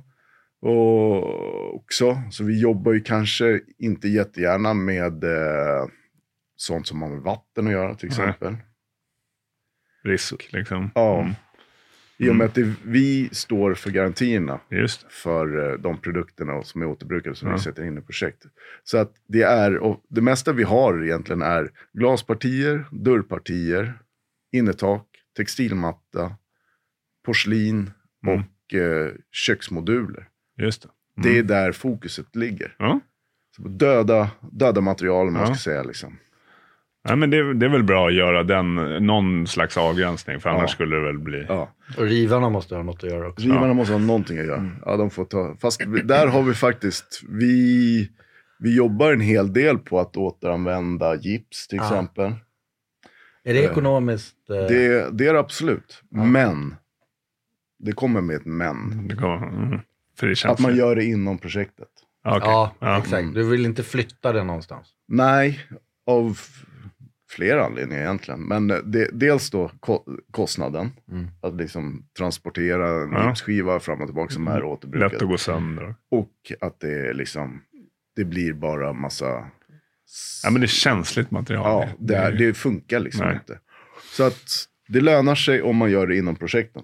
S1: Och också, så vi jobbar ju kanske inte jättegärna med eh, sånt som har med vatten att göra till
S2: Nej.
S1: exempel.
S2: risk liksom.
S1: Ja.
S2: Mm.
S1: I och med att det, vi står för garantierna
S2: Just det.
S1: för eh, de produkterna som är återbrukade som
S2: Ja.
S1: vi sätter in i projektet. Så att det är, och det mesta vi har egentligen är glaspartier, dörrpartier, innertak, textilmatta, porslin
S2: Mm.
S1: och eh, köksmoduler.
S2: Just det. Mm.
S1: Det är där fokuset ligger.
S2: Ja.
S1: Så på döda, döda material, om man
S2: Ja.
S1: ska säga. Liksom.
S2: Ja, men det, det är väl bra att göra den, någon slags avgränsning, för annars
S1: Ja.
S2: skulle det väl bli...
S1: Ja.
S3: Och rivarna måste ha något att göra också.
S1: Rivarna måste ha någonting att göra. Mm. Ja, de får ta. Fast vi- där har vi faktiskt, vi, vi jobbar en hel del på att återanvända gips till
S3: Ja.
S1: exempel.
S3: Är det ekonomiskt? eh,
S1: Det, det är det absolut. Men. Det kommer med ett men.
S2: Det kommer, mm. För det känns
S1: Att man gör det inom projektet.
S2: Ja, okej.
S3: Ja,
S2: Ja.
S3: exakt. Du vill inte flytta det någonstans.
S1: Nej, av f- flera anledningar egentligen. Men eh, det, dels då ko- kostnaden.
S3: Mm.
S1: Att liksom transportera en
S2: Ja. Mm.
S1: gipsskiva fram och tillbaka som är återbruket.
S2: Lätt att gå sönder.
S1: Och att det är liksom, det blir bara massa...
S2: Ja, men det är känsligt material.
S1: Ja, det, är, det funkar liksom
S2: Nej.
S1: inte. Så att det lönar sig om man gör det inom projekten.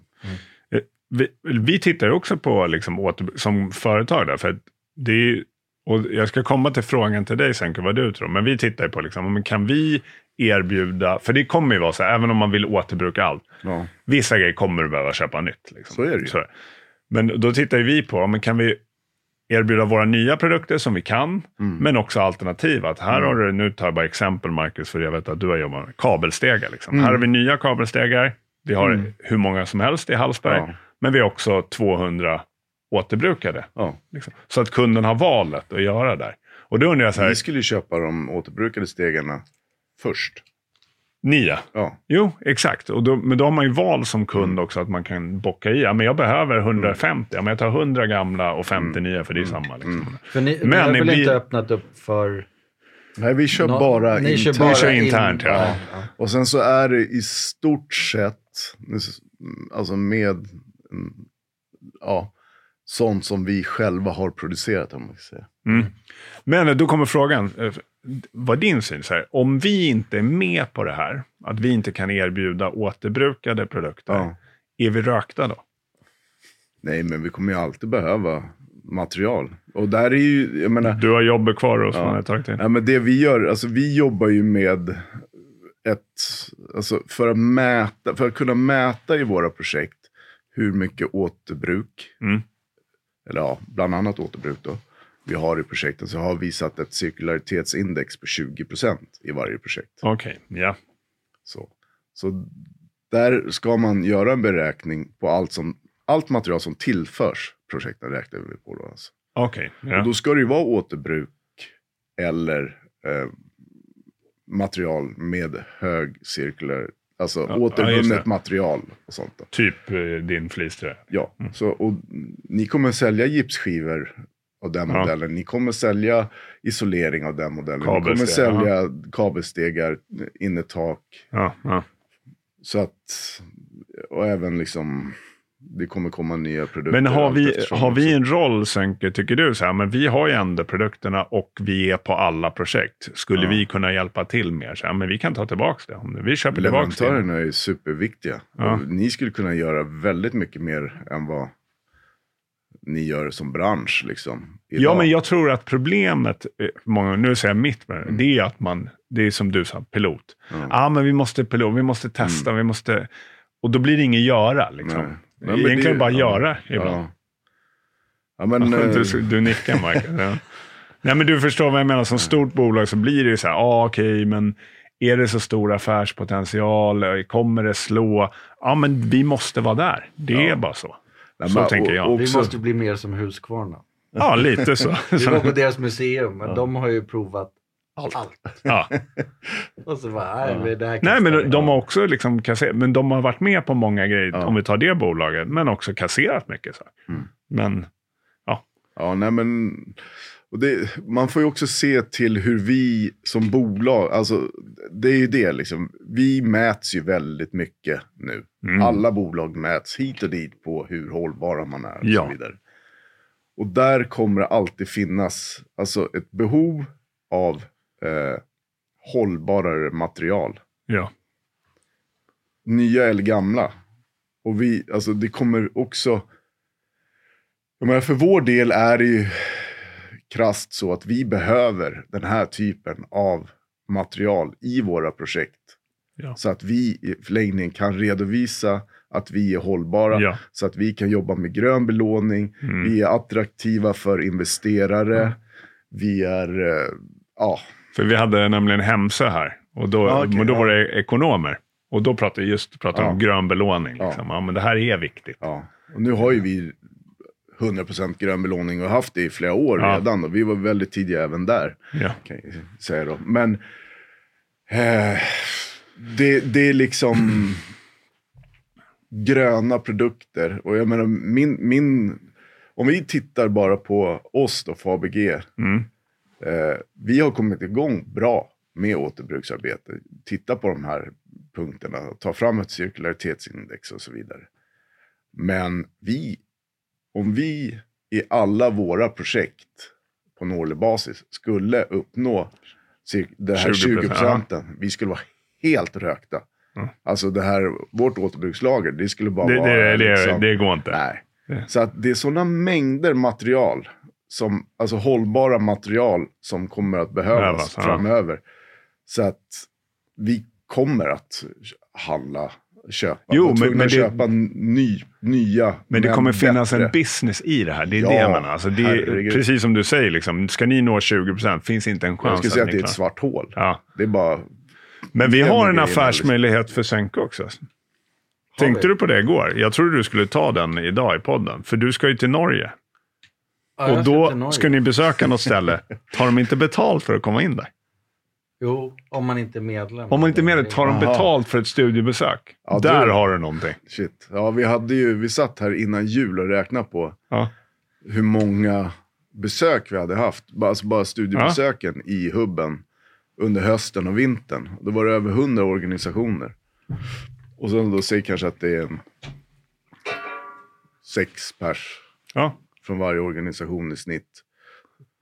S2: vi, vi tittar ju också på liksom åter, som företag där, för att det är, ju- och jag ska komma till frågan till dig sen, vad du tror, men vi tittar ju på liksom, men kan vi erbjuda, för det kommer ju vara så här, även om man vill återbruka allt,
S1: Ja.
S2: vissa grejer kommer du behöva köpa nytt. Liksom.
S1: Så är det ju.
S2: Men då tittar ju vi på, ja, men kan vi erbjuda våra nya produkter som vi kan,
S1: Mm.
S2: men också alternativ. Att här har du, nu tar jag bara exempel Marcus, för jag vet att du har jobbat med kabelstegar. Liksom.
S1: Mm.
S2: Här har vi nya kabelstegar. Vi har hur många som helst i Hallsberg,
S1: Ja.
S2: men vi har också 200 återbrukade.
S1: Ja.
S2: Liksom. Så att kunden har valet att göra där. Och då undrar jag så här,
S1: Vi skulle ju köpa de återbrukade stegarna först.
S2: nya,
S1: Ja.
S2: Jo, exakt. Och då, men då har man ju val som kund
S1: Mm.
S2: också att man kan bocka i. Ja, men jag behöver 150. Ja, men jag tar 100 gamla och 50
S1: Mm.
S2: nya, för det är samma. Liksom.
S3: För ni, ni
S2: Men
S3: har
S2: det
S3: väl
S2: blir-
S3: inte öppnat upp för...
S1: Nej, vi kör
S3: Nå-
S1: bara
S3: ni kör
S1: internt.
S3: bara
S2: Vi kör internt, ja.
S1: Och sen så är det i stort sett, nu s- alltså med mm, ja, sånt som vi själva har producerat. Om man ska säga.
S2: Men då kommer frågan, eh, vad är din syn? Så här, om vi inte är med på det här, att vi inte kan erbjuda återbrukade produkter,
S1: Ja.
S2: är vi rökta då?
S1: Nej, men vi kommer ju alltid behöva material. Och där är ju, jag menar,
S2: Du har jobbet kvar hos
S1: Ja.
S2: ja. ett tag till.
S1: Ja, men det vi gör, alltså vi jobbar ju med ett, alltså för att mäta, för att kunna mäta i våra projekt hur mycket återbruk,
S2: Mm.
S1: eller ja, bland annat återbruk då, vi har i projekten så har vi satt ett cirkularitetsindex på 20% i varje projekt.
S2: Okej, ja.
S1: Så, så där ska man göra en beräkning på allt, som, allt material som tillförs projekten räknar vi på då alltså.
S2: Okej.
S1: Och
S2: ja.
S1: då ska det ju vara återbruk eller eh, material med hög cirkulär, alltså
S2: Ja, ja, just
S1: återvunnet
S2: det.
S1: material och sånt. Då.
S2: Typ eh, din fleecetröja.
S1: Ja,
S2: Mm.
S1: så, och ni kommer sälja gipsskivor av den
S2: Ja.
S1: modellen. Ni kommer sälja isolering av den modellen. Ni kommer
S2: Kabelstegar,
S1: sälja kabelstegar, innertak.
S2: Ja, ja.
S1: Så att, och även liksom, det kommer komma nya produkter.
S2: Men har
S1: allt
S2: vi,
S1: eftersom
S2: har vi
S1: också.
S2: en roll, Sönke, tycker du? så här, men Vi har ju ändå produkterna och vi är på alla projekt. Skulle
S1: Ja.
S2: vi kunna hjälpa till mer? Så här, men vi kan ta tillbaka det. Om Vi köper tillbaka det.
S1: Leverantörerna är ju superviktiga.
S2: Ja.
S1: Och Ni skulle kunna göra väldigt mycket mer än vad ni gör som bransch. Liksom,
S2: Ja, men jag tror att problemet, eh, många, nu säger jag mitt, men
S1: Mm.
S2: det är att man, det är som du sa, pilot. Ja, ah, men vi måste pilot, vi måste testa, vi måste... Och då blir det inget göra, liksom.
S1: Mm. Nej. Nej, men
S2: Egentligen
S1: det-
S2: bara
S1: ja.
S2: göra ibland.
S1: Ja. Ja, men, eh,
S2: du, du nickar, Michael. ja. Nej, men du förstår vad jag menar. Som stort bolag så blir det ju så här, ah, okej, men är det så stor affärspotential? Kommer det slå? Ja, men vi måste vara där. Det är bara så.
S1: nej,
S2: så
S1: men-
S2: tänker jag.
S1: och-
S3: Vi
S1: också-
S3: måste bli mer som Husqvarna.
S2: Ja, lite så.
S3: Vi var på
S2: så
S3: deras museum, men de har ju provat allt.
S2: ja.
S3: Och så bara, nej, men det här kan
S2: Nej,
S3: ställa.
S2: men de har också liksom kasserat, men de har varit med på många grejer, om vi tar det bolaget, men också kasserat mycket. Så. här.
S1: Mm.
S2: Men
S1: Ja, nej men... Och det, man får ju också se till hur vi som bolag, alltså det är ju det liksom. Vi mäts ju väldigt mycket nu.
S2: mm,
S1: Alla bolag mäts hit och dit på hur hållbara man är och
S2: Ja.
S1: så vidare. Och där kommer det alltid finnas alltså, ett behov av eh, hållbarare material.
S2: ja,
S1: Nya eller gamla. Och vi, alltså det kommer också... Jag menar, för vår del är det ju krasst så att vi behöver den här typen av material i våra projekt.
S2: Ja.
S1: Så att vi i förlängningen kan redovisa att vi är hållbara,
S2: Ja.
S1: så att vi kan jobba med grön belåning, vi är attraktiva för investerare, vi är... eh, Ja,
S2: för vi hade nämligen Hemsö här och då,
S1: Ja, okej,
S2: men då
S1: ja.
S2: var det ekonomer. Och då pratade vi just pratade
S1: Ja.
S2: om grön belåning. Liksom. Ja. men det här är viktigt.
S1: ja. Och nu har ju vi 100% grön belåning och haft det i flera år
S2: Ja.
S1: redan och vi var väldigt tidiga även där.
S2: Ja.
S1: kan jag säga då. Men eh, det, det är liksom gröna produkter. Och jag menar, min, min, om vi tittar bara på oss då, Fabg.
S2: Mm.
S1: Eh, vi har kommit igång bra med återbruksarbete. Titta på de här punkterna, ta fram ett cirkularitetsindex och så vidare. Men vi, om vi i alla våra projekt på en årlig basis skulle uppnå cir- det här
S2: 20%,
S1: 20 procenten, vi skulle vara helt rökta. Alltså det här, vårt återbrukslager, det skulle bara
S2: Det,
S1: vara...
S2: det, det,
S1: liksom-
S2: det går inte.
S1: Nej.
S2: Det-
S1: Så att det är sådana mängder material, som, alltså hållbara material som kommer att behövas
S2: Behövas, ja.
S1: framöver. Så att vi kommer att handla, köpa.
S2: Jo,
S1: Vi är
S2: men-
S1: tvungna
S2: men
S1: att
S2: det-
S1: köpa ny, nya,
S2: Men det kommer finnas
S1: bättre.
S2: en business i det här. Det är
S1: Ja,
S2: det jag menar. Alltså det är,
S1: herregud.
S2: precis som du säger, liksom, ska ni nå 20 procent finns inte en chans
S1: Jag skulle säga att det är
S2: ni
S1: ett
S2: klarar-
S1: svart hål.
S2: Ja.
S1: Det är bara...
S2: Men vi
S1: Det är med
S2: har en
S1: grejerna, liksom.
S2: affärsmöjlighet för Sänke också. Tänkte du på det igår? Jag trodde du skulle ta den idag i podden, för du ska ju till Norge.
S3: Ja, jag
S2: och
S3: ska
S2: då
S3: till
S2: ska,
S3: Norge.
S2: ni besöka något ställe. Tar de inte betalt för att komma in där?
S3: Jo, om man inte är medlem.
S2: Om man inte är med det, tar de betalt för ett studiebesök?
S1: Ja,
S2: där
S1: du-
S2: har du någonting.
S1: Shit. Ja, vi, hade ju, vi satt här innan jul och räknade på
S2: Ja.
S1: hur många besök vi hade haft. Bara- Alltså bara studiebesöken i hubben under hösten och vintern. Då var det över hundra organisationer. Och sen då säger kanske att det är en sex pers
S2: Ja.
S1: från varje organisation i snitt.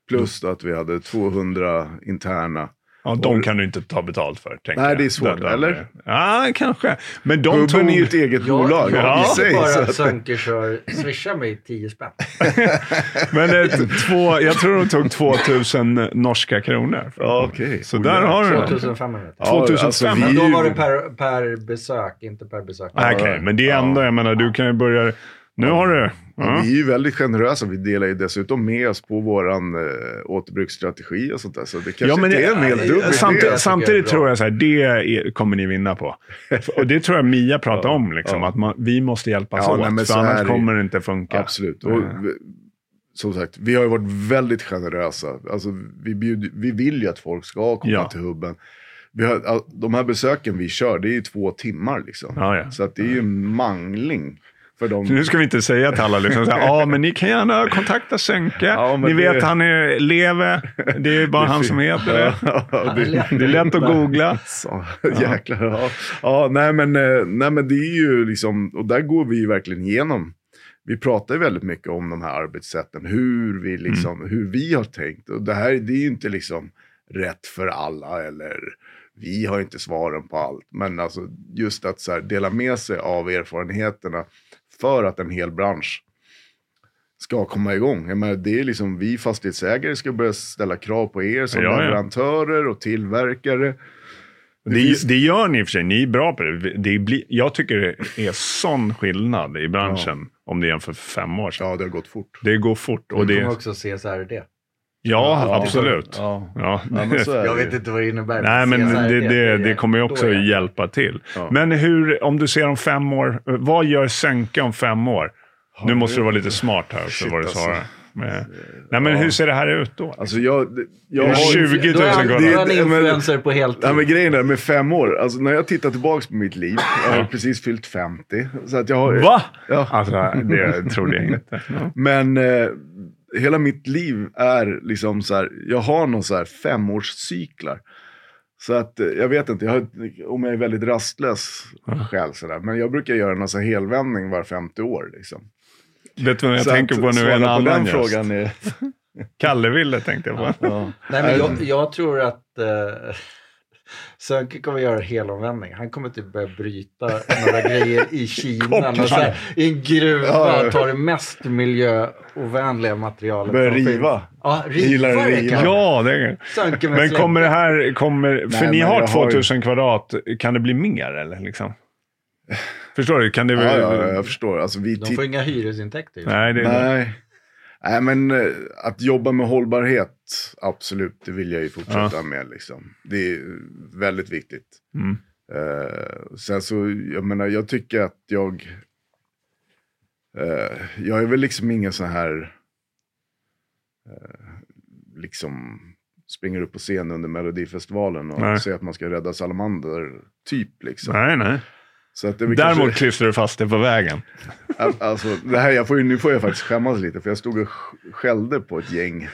S1: Plus då
S2: Mm.
S1: att vi hade 200 interna.
S2: Ja, de kan du inte ta betalt för. tänker
S1: Nej,
S2: jag.
S1: det är svårt,
S2: Där- där-
S1: eller?
S2: Ja, kanske. Men de tog...
S1: Hubben är ju ett eget bolag
S2: Ja.
S1: i sig.
S3: Bara
S1: Så
S3: att
S1: att,
S3: Sönke kör, swisha mig 10 spänn.
S2: Men ett, två, jag tror de tog 2000 norska kronor.
S1: Ja, okej.
S2: Så där har du det.
S3: 2500.
S1: Ja, alltså,
S2: 2500.
S1: vi är
S3: Men
S1: ju-
S3: då var det per, per besök, inte per besök.
S2: Okej, men det är ändå, jag menar, du kan ju börja... Nu har du...
S1: Ja,
S2: Ja.
S1: Vi är ju väldigt generösa. Vi delar ju dessutom med oss på vår eh, återbruksstrategi och sånt där. Så det kanske
S2: Ja, men eh,
S1: inte är en helt
S3: nej,
S1: dum
S3: det-
S1: idé.
S3: det tycker
S2: samtidigt,
S3: jag är
S2: samtidigt
S3: bra.
S2: tror jag så här, det är, kommer ni vinna på. Och det tror jag Mia pratar om, liksom, att man, vi måste hjälpas
S1: Ja,
S2: åt,
S1: nej, men
S2: för
S1: så här
S2: annars
S1: är det.
S2: kommer det inte funka.
S1: Absolut. Och, vi- Som sagt, vi har ju varit väldigt generösa. Alltså, vi, bjud, vi vill ju att folk ska komma
S2: Ja.
S1: till hubben. Vi har, all- de här besöken vi kör, det är ju två timmar liksom.
S2: Ja, ja.
S1: Så att det är ju en mangling. För de...
S2: Nu ska vi inte säga till alla liksom så här, ja men ni kan gärna kontakta Sönke.
S1: Ja, men
S2: ni
S1: det-
S2: vet han är leve. Det är ju bara han som heter det.
S1: Ja, det,
S2: Det är lätt att googla.
S1: Så, jäklar. Ja. Ja, nej, men, eh, nej, men det är ju liksom, och där går vi ju verkligen igenom. Vi pratar ju väldigt mycket om de här arbetssätten, hur
S2: Mm.
S1: vi, liksom, hur vi har tänkt. Och det här det är ju inte liksom rätt för alla eller vi har inte svaren på allt. Men alltså, just att så här, dela med sig av erfarenheterna för att en hel bransch ska komma igång. Jag menar, det är liksom vi fastighetsägare ska börja ställa krav på er som
S2: Ja, ja.
S1: leverantörer och tillverkare.
S2: Det, det gör ni i och för sig. Ni är bra på det. det blir, jag tycker det är sån skillnad i branschen om det jämför för fem år sedan.
S1: Ja, det har gått fort.
S2: Det går fort. Och
S3: Du kommer
S2: det,
S3: också CSRD.
S2: ja, absolut.
S3: Ja.
S2: Ja.
S1: Ja, men så är
S3: Jag
S1: det
S3: vet
S1: ju.
S3: inte vad det innebär.
S2: Nej, men det, det,
S3: är-
S2: det kommer ju också
S3: då är-
S2: hjälpa till.
S1: Ja.
S2: Men hur, om du ser om fem år, vad gör Sönke om fem år? Nu måste du vara lite smart här också,
S1: Shit,
S2: vad du
S1: alltså.
S2: svarar. Men- Nej, men hur ser det här ut då?
S1: Alltså jag... det- jag
S2: Det är
S1: har-
S2: 20 000
S3: Då är han,
S2: kronor.
S3: då är han
S1: Det- men-
S3: influencer på heltid.
S1: Nej, men grejen är med fem år, alltså när jag tittar tillbaka på mitt liv, jag har precis fyllt 50. Så att jag har,
S2: Va?
S1: Ja.
S2: Alltså, det trodde jag inte.
S1: Men eh, hela mitt liv är liksom så här, jag har någon så här femårscyklar. Så att eh, jag vet inte, jag har, om jag är väldigt rastlös själv sådär. Men jag brukar göra någon så här helvändning var 50 år liksom.
S2: Vet du vad jag
S1: så
S2: tänker
S1: att
S2: på nu?
S1: svara
S2: En
S1: på den
S2: annan gäst.
S1: frågan är...
S2: Kalleville tänkte jag på.
S1: Ja.
S3: Nej, men
S1: Ehm.
S3: jag, jag tror att eh, Sönke kommer göra en helomvändning. Han kommer typ börja bryta några grejer i Kina. någon så här, I en
S1: Ja,
S3: gruva
S1: ja.
S3: tar det mest miljöovänliga materialet.
S1: Börja
S3: som finns.
S1: riva.
S3: Ja, riva
S1: Gillar att
S3: det
S1: riva.
S3: kan
S2: Ja, det är
S3: Sönke med
S2: Men
S3: slägga.
S2: kommer det här... Kommer, för
S1: Nej,
S2: ni
S1: men
S2: har
S1: jag har ju-
S2: 2000 kvadrat. Kan det bli mer eller? Liksom? Förstår du? Kan det
S1: Ja, ja, jag förstår. Alltså, vi
S3: De får inga hyresintäkter. ju.
S2: Nej, det är...
S1: Nej. Nej, men eh, att jobba med hållbarhet, absolut, det vill jag ju fortsätta med. Liksom. Det är väldigt viktigt.
S2: Mm.
S1: Eh, sen så, jag menar, jag tycker att jag... eh, jag är väl liksom ingen sån här... eh, liksom springer upp på scen under Melodifestivalen och
S2: Nej.
S1: säger att man ska rädda salamander, typ. Liksom.
S2: Nej, nej.
S1: Så att det är väl
S2: Däremot
S1: kanske-
S2: klistrar du fast det på vägen.
S1: Al- Alltså, det här, jag får ju, nu får jag faktiskt skämmas lite, för jag stod och sk- skällde på ett gäng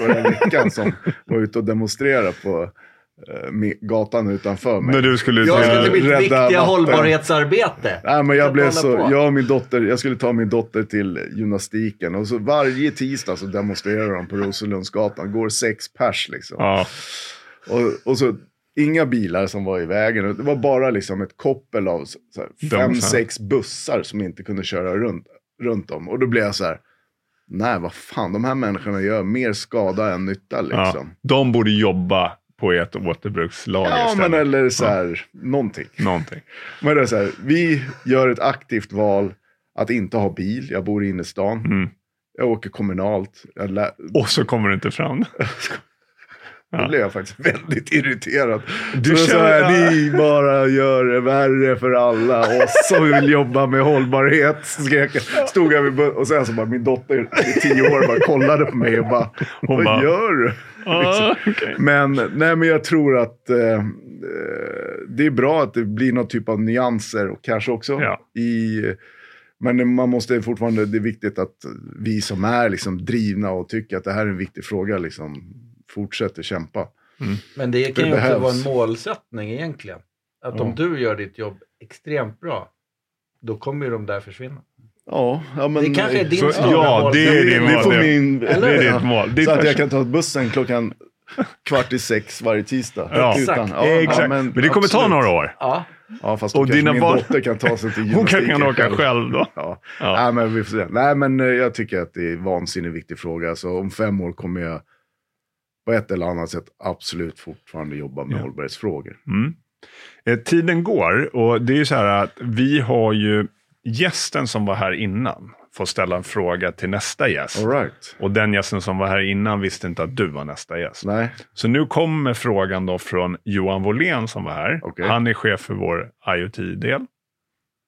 S1: förra veckan som var ute och demonstrerade på eh, mi- gatan utanför mig.
S2: När du skulle ut
S3: Jag
S2: och-
S1: Ja,
S3: ska till mitt
S1: rädda
S3: viktiga
S1: vatten.
S3: hållbarhetsarbete.
S1: Nej, men jag,
S3: Kan
S1: blev
S3: hålla
S1: så,
S3: på.
S1: jag, och min dotter, jag skulle ta min dotter till gymnastiken och så varje tisdag så demonstrerar de på Rosenlundsgatan. Går sex pers liksom.
S2: Ja.
S1: Och, och så inga bilar som var i vägen. Det var bara liksom ett koppel av så så här, fem,
S2: Dumt, ja.
S1: sex bussar som inte kunde köra runt, runt om. Och då blev jag så här, nej vad fan, de här människorna gör mer skada än nytta
S2: Ja.
S1: liksom.
S2: De borde jobba på ett
S1: Ja,
S2: återbrukslager
S1: men
S2: istället.
S1: eller så här, någonting.
S2: Någonting.
S1: Men det är så här, vi gör ett aktivt val att inte ha bil, jag bor i innerstan.
S2: Mm.
S1: Jag åker kommunalt. Jag lä-
S2: Och så kommer du inte fram.
S1: Då blev jag faktiskt väldigt irriterad.
S2: Du
S1: Du så
S2: känner-
S1: känner... så här, ni bara gör det värre för alla. Och så vill jobba med hållbarhet. Skrek. jag. Stod jag vid bu- och sen så bara min dotter i tio år bara kollade på mig och bara,
S2: Hon
S1: vad
S2: bara,
S1: gör du? Liksom.
S2: Ah, okej.
S1: Men, nej, men jag tror att eh, eh, det är bra att det blir någon typ av nyanser och kanske också
S2: Ja.
S1: i... Men man måste fortfarande, det är viktigt att vi som är liksom drivna och tycker att det här är en viktig fråga, liksom, fortsätter kämpa.
S3: Men det kan ju också
S1: behövs.
S3: vara en målsättning egentligen. Att om du gör ditt jobb extremt bra, då kommer ju de där försvinna.
S1: Ja, ja men...
S3: Det kanske är din
S2: Så,
S3: stora
S2: ja, det är
S1: Det-
S2: din
S1: det
S2: mål.
S1: får
S2: Det,
S1: min-
S2: det är ditt mål. Ditt
S1: Så att jag
S2: perspektiv.
S1: kan ta bussen klockan kvart i sex varje tisdag.
S2: Ja.
S1: Utan- ja,
S2: Exakt.
S1: ja,
S2: men, det kommer ta
S1: absolut.
S2: några år.
S3: Ja,
S1: Ja, fast
S2: Och
S1: och
S2: dina
S1: min
S2: barn-
S1: dotter kan ta sig till
S2: Hon kanske kan
S1: gymnastiken
S2: åka själv då.
S1: Ja.
S2: Ja.
S1: Nej, men vi får se. Nej, men eh, jag tycker att det är en vansinnigt viktig fråga. Så om fem år kommer jag på ett eller annat sätt absolut fortfarande jobba med
S2: Ja.
S1: hållbarhetsfrågor.
S2: Mm. Eh, Tiden går och det är ju så här att vi har ju gästen som var här innan får ställa en fråga till nästa gäst.
S1: All right.
S2: Och den gästen som var här innan visste inte att du var nästa gäst.
S1: Nej,
S2: Så nu kommer frågan då från Johan Wåhlén som var här.
S1: Okej.
S2: Han är chef för vår IoT-del.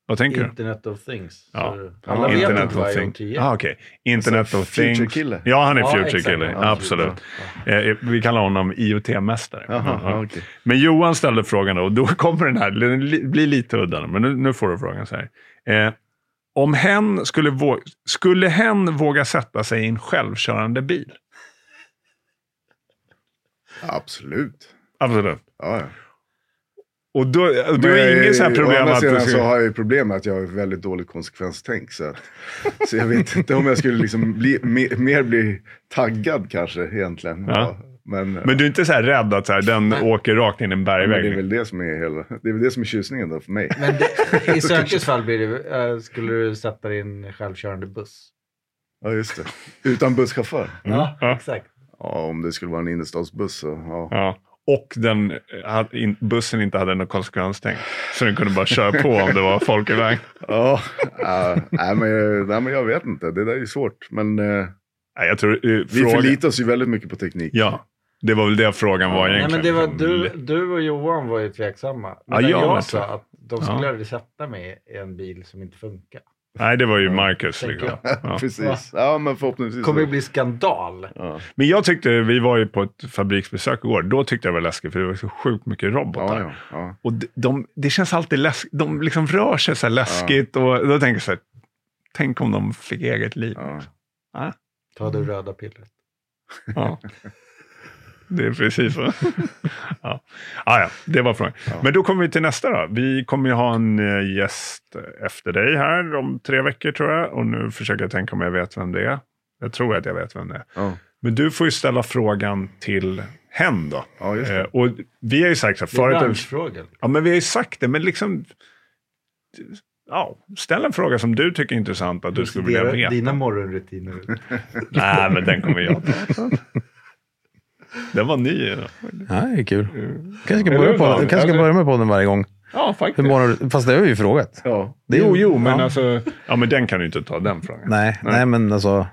S2: Vad tänker du?
S3: Internet of things.
S2: Ja.
S3: Så Alla
S1: Ja,
S3: vet
S1: Internet
S3: inte vad IoT är.
S2: Ah, okej. Internet
S1: Alltså,
S2: of things.
S1: future-kille.
S2: Ja, han är
S3: Ja,
S2: future
S3: exakt.
S2: kille.
S3: Ja,
S2: Absolut. Eh, vi kallar honom IoT-mästare.
S1: Jaha,
S2: Ja.
S1: okej.
S2: Men Johan ställde frågan då, och då kommer den här, den li- blir lite udda, men nu, nu får du frågan så här. Eh, Om hen skulle, våga, skulle hen våga sätta sig i en självkörande bil?
S1: Absolut.
S2: Absolut.
S1: Ja, ja.
S2: Och då, då
S1: Men jag
S2: är inget så här
S1: å
S2: problem
S1: andra
S2: att du
S1: sidan så
S2: ska...
S1: har jag ju problem med att jag har väldigt dåligt konsekvenstänk. Så, att, så jag vet inte om jag skulle liksom bli, mer, mer bli taggad kanske egentligen.
S2: Ja.
S1: Ja. Men,
S2: Men du är inte så här rädd att så här, den åker rakt in i en
S1: men det är
S2: bergvägg?
S1: väl det som är hela, det är väl det som är tjusningen då för mig.
S3: Men det, i Sökes fall blir det, eh, skulle du sätta din självkörande buss.
S1: Ja, just det. Utan busschaufför.
S2: Mm. Ja.
S3: exakt.
S1: Ja, om det skulle vara en innerstadsbuss så ja.
S2: Ja. Och den, hade in- bussen inte hade något konsekvenstänk. Så den kunde bara köra på om det var folk i vägen.
S1: Ja, ja, nej, men, jag- nej, men jag vet inte. Det där är ju svårt. Men eh,
S2: Nej, jag tror... eh,
S1: vi
S2: frågan-
S1: förlitar oss ju väldigt mycket på teknik.
S2: Ja, det var väl det frågan var
S3: Nej,
S2: egentligen.
S3: men det var,
S2: Liksom,
S3: du,
S2: li-
S3: du och Johan var ju tveksamma.
S2: Ja,
S3: Men
S2: jag
S3: jag,
S2: var
S3: sa
S2: tveksam.
S3: att de skulle
S2: Ja.
S3: aldrig sätta mig i en bil som inte funkar.
S2: Nej, det var ju Marcus.
S3: tänker
S2: Liksom. Ja.
S1: Precis. Ja, men förhoppningsvis.
S3: kommer ju bli skandal.
S1: ja.
S2: Men jag tyckte, vi var ju på ett fabriksbesök igår. Då tyckte jag det var läskigt för det var så sjukt mycket robotar.
S1: Ja, ja, ja.
S2: Och de, de, det känns alltid läskigt. De liksom rör sig så här läskigt. Och då tänker jag så här, tänk om de fick eget liv.
S1: Ja.
S3: Ta det röda pillret.
S2: Ja. Det är precis så. Ja. Ah, ja, det var frågan.
S1: Ja.
S2: Men då kommer vi till nästa då. Vi kommer ju ha en eh, gäst efter dig här om tre veckor tror jag. Och nu försöker jag tänka om jag vet vem det är. Jag tror att jag vet vem det är.
S1: Ja.
S2: Men du får ju ställa frågan till hen då.
S1: Ja, just det.
S2: Eh, och vi har ju sagt så här,
S3: Det är
S2: förut,
S3: branschfrågor.
S2: ja, men vi har ju sagt det, men liksom... Ja, ställ en fråga som du tycker är intressant att du skulle vilja
S3: Dina-
S2: veta.
S3: Dina morgonrutiner.
S2: Nej, men den kommer jag ta. Den var ny. Ja,
S6: Ja, det är kul. Kanske ska
S2: Eller
S6: börja,
S2: hur,
S6: på,
S2: Daniel?
S6: kanske ska
S2: Eller-
S6: börja med podden varje gång.
S2: ja
S6: Hur
S2: faktiskt.
S6: mår, fast det har vi ju frågat.
S1: Ja.
S6: Det är ju- ja.
S2: alltså... Ja, men den kan du inte ta, den frågan.
S6: Nej, nej, men alltså.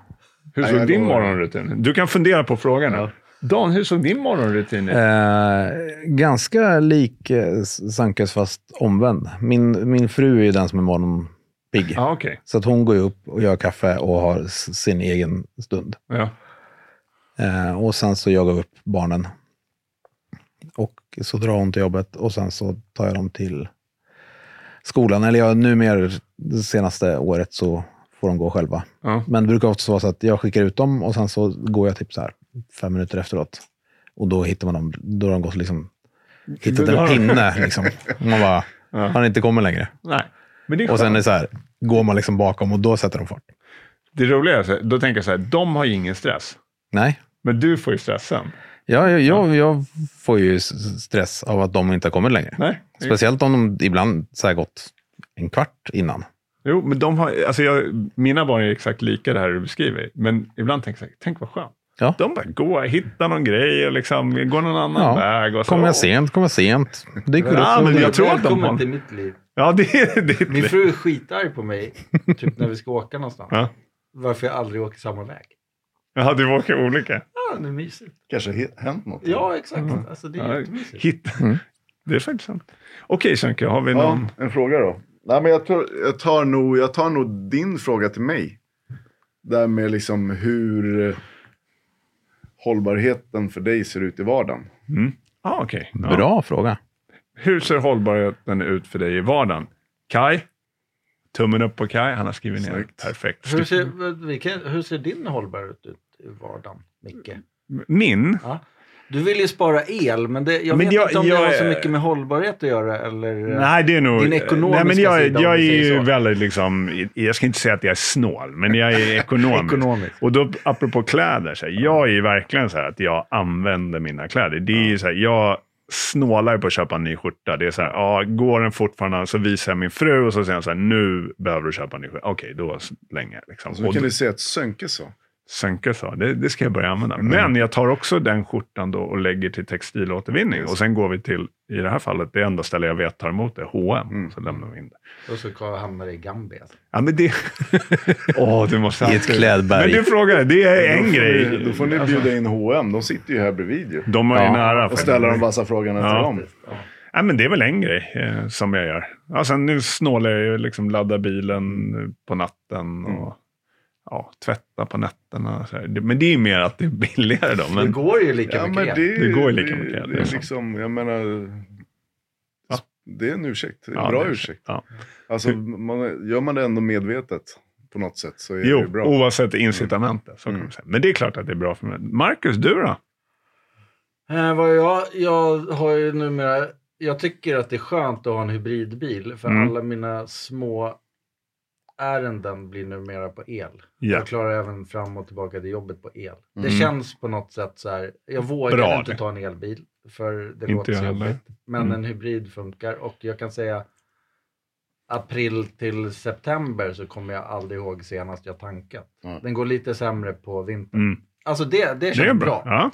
S2: Hur
S1: Nej,
S2: såg
S1: jag
S2: din
S1: går-
S2: morgonrutin ut? Du kan fundera på frågan.
S1: Ja.
S2: Dan, hur såg din morgonrutin ut?
S6: Eh, ganska lik eh, Sankes fast omvänd. Min, min fru är ju den som är morgonpigg.
S2: Ja, okej.
S6: Så att hon går ju upp och gör kaffe och har s- sin egen stund.
S2: Ja.
S6: Eh, och sen så jagar vi upp barnen. Och så drar hon till jobbet och sen så tar jag dem till skolan. Eller jag, numera, det senaste året, så får de gå själva.
S2: Ja.
S6: Men det brukar ofta vara så att jag skickar ut dem och sen så går jag typ så här fem minuter efteråt. Och då hittar man dem, då har de gått liksom, hittat
S2: Då har
S6: en
S2: de-
S6: pinne. Liksom. Man bara,
S2: Ja.
S6: han har inte kommit längre.
S2: Nej. Men det, är
S6: Och sen är
S2: skönt.
S6: det så här, går man liksom bakom och då sätter de fart.
S2: det roliga är, så här, då tänker jag så här, de har ju ingen stress.
S6: Nej,
S2: Men du får ju stressen.
S6: Ja, jag, jag, jag får ju s- stress av att de inte har kommit längre.
S2: Nej.
S6: Speciellt om de ibland så här gått en kvart innan.
S2: Jo, men de har, alltså jag, mina barn är exakt lika det här du beskriver. Men ibland tänker jag, så här, tänk vad skönt.
S6: Ja.
S2: De bara går, hittar någon grej och liksom, går någon annan
S6: Ja.
S2: väg. Och så,
S6: Kommer
S2: åh.
S6: jag sent, kommer jag sent. Dyker
S2: Ja,
S6: upp.
S2: men jag tror att de
S3: Välkommen
S2: har...
S3: till mitt liv.
S2: Ja, det är ditt
S3: Min
S2: liv.
S3: fru är skitarg på mig, typ när vi ska åka någonstans.
S2: Ja.
S3: Varför jag aldrig åker samma väg.
S2: Ja, du åker olika.
S3: Ja, det är mysigt.
S1: Kanske he- hänt något.
S3: Ja, exakt. Alltså, det är
S2: Mm. Ja,
S3: jättemysigt.
S2: Hitta.
S6: Mm.
S2: Det är faktiskt sant. Okej, Sönke, har vi
S1: Ja,
S2: någon?
S1: en fråga då. Nej, men jag, tar, jag, tar nog, jag tar nog din fråga till mig. Där med liksom hur eh, hållbarheten för dig ser ut i vardagen.
S2: Ah, okej. Ja.
S6: Bra fråga.
S2: Hur ser hållbarheten ut för dig i vardagen? Kai? Tummen upp på Kai. Han har skrivit ner.
S1: Snyggt.
S2: Perfekt.
S3: Hur ser, vi kan, hur ser din hållbarhet ut i vardagen, Micke?
S2: Min?
S3: Ja. Du vill ju spara el, men det, jag
S2: Men
S3: vet
S2: jag-
S3: inte om
S2: jag
S3: det har
S2: är-
S3: så mycket med hållbarhet att göra. Eller,
S2: Nej, det är nog...
S3: Din ekonomiska
S2: nej, men jag,
S3: sida, om
S2: jag är
S3: vi säger
S2: ju
S3: så.
S2: väldigt liksom... Jag ska inte säga att jag är snål, men jag är ekonomisk.
S3: Ekonomisk.
S2: Och då, apropå kläder, så här, jag är ju verkligen så här att jag använder mina kläder. Det är ju så här, jag snålar ju på att köpa en ny skjorta. Det är så här, ja, går den fortfarande så visar jag min fru och så säger hon så här, nu behöver du köpa en ny skjorta. Okej, då slänger jag. Liksom.
S3: Alltså,
S1: Så Alltså, nu
S2: Och
S1: kan
S2: då-
S1: du säga att Sönke sa.
S2: Sönke sa, det, det ska jag börja använda.
S1: Mm.
S2: Men jag tar också den skjortan då och lägger till textilåtervinning. Och sen går vi till, i det här fallet, det enda ställe jag vet tar emot det, H&M.
S1: Mm.
S2: Så lämnar vi in det.
S3: Och så hamnar det i Gambia.
S2: Ja, men det... Åh, du måste...
S6: I ett klädberg.
S2: Men du frågar, det är
S1: Då
S2: en
S1: får
S2: grej.
S1: Ni, då får ni bjuda in H&M. De sitter ju här bredvid ju.
S2: De är ju
S6: Ja.
S2: nära.
S1: Och ställa de vassa frågorna till
S2: Ja.
S1: dem.
S2: Ja, men det är väl en grej eh, som jag gör. Ja, sen nu snålar jag ju, liksom laddar bilen eh, på natten och
S1: Mm.
S2: ja, tvättar på nätterna. Så här. Det- Men det är ju mer att det är billigare då.
S3: det
S2: Men,
S3: går ju lika
S1: Ja, men
S3: mycket
S1: det,
S2: Det går ju lika mycket,
S1: Det,
S2: det är
S1: är
S2: sant.
S1: liksom, jag menar... det är en ursäkt. En
S2: Ja,
S1: bra
S2: det är-
S1: ursäkt.
S2: Ja.
S1: Alltså, man, gör man det ändå medvetet på något sätt så är det
S2: Jo,
S1: ju bra.
S2: oavsett
S3: Mm.
S2: incitamentet. Så kan man säga. Men det är klart att det är bra för mig. Marcus, du då?
S3: Eh, vad jag, jag har ju numera... Jag tycker att det är skönt att ha en hybridbil för
S2: Mm.
S3: alla mina små ärenden blir numera på el.
S2: Ja.
S3: Jag klarar även fram och tillbaka till jobbet på el. Det
S1: Mm.
S3: känns på något sätt så här. Jag vågar
S2: Bra
S3: inte
S2: det.
S3: ta en elbil för det
S2: Inte
S3: låter
S2: jag
S3: så
S2: heller.
S3: jobbigt. Men
S2: Mm.
S3: en hybrid funkar och jag kan säga april till september så kommer jag aldrig ihåg senast jag tankat.
S1: Ja.
S3: Den går lite sämre på vintern.
S2: Mm.
S3: Alltså det, det känns
S2: Det är
S3: bra.
S2: bra.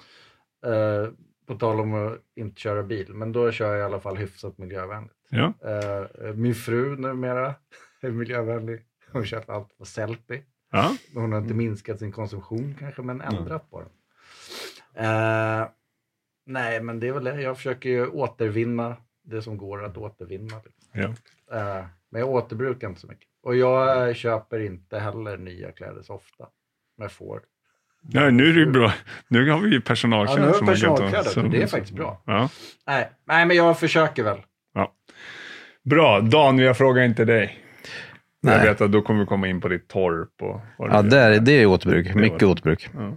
S2: Ja.
S3: Eh, på tal om att inte köra bil, men då kör jag i alla fall hyfsat miljövänligt.
S2: Ja.
S3: Eh, min fru numera är miljövänlig. Hon köper allt på Sellpy.
S2: Ja.
S3: Hon har inte minskat sin konsumtion kanske, men ändrat på den. Eh, nej, men det är väl det. Jag försöker ju återvinna det som går att återvinna. typ.
S2: Ja.
S3: Eh, men jag återbrukar inte så mycket. Och jag eh, köper inte heller nya kläder så ofta. Men jag får.
S2: Nej, nu är det ju bra. Nu har vi ju personaltjänst.
S3: Ja, nu har vi
S2: som har gått och-
S3: personalkläder,
S2: som-
S3: det är faktiskt bra.
S2: Ja.
S3: Nej, nej, men jag försöker väl.
S2: Bra. Dan, jag frågar inte dig. Jag
S6: Nej.
S2: vet att då kommer vi komma in på ditt torp och vad du gör.
S6: Ja, det är, det är återbruk. Mycket
S2: det.
S6: återbruk.
S2: Ja.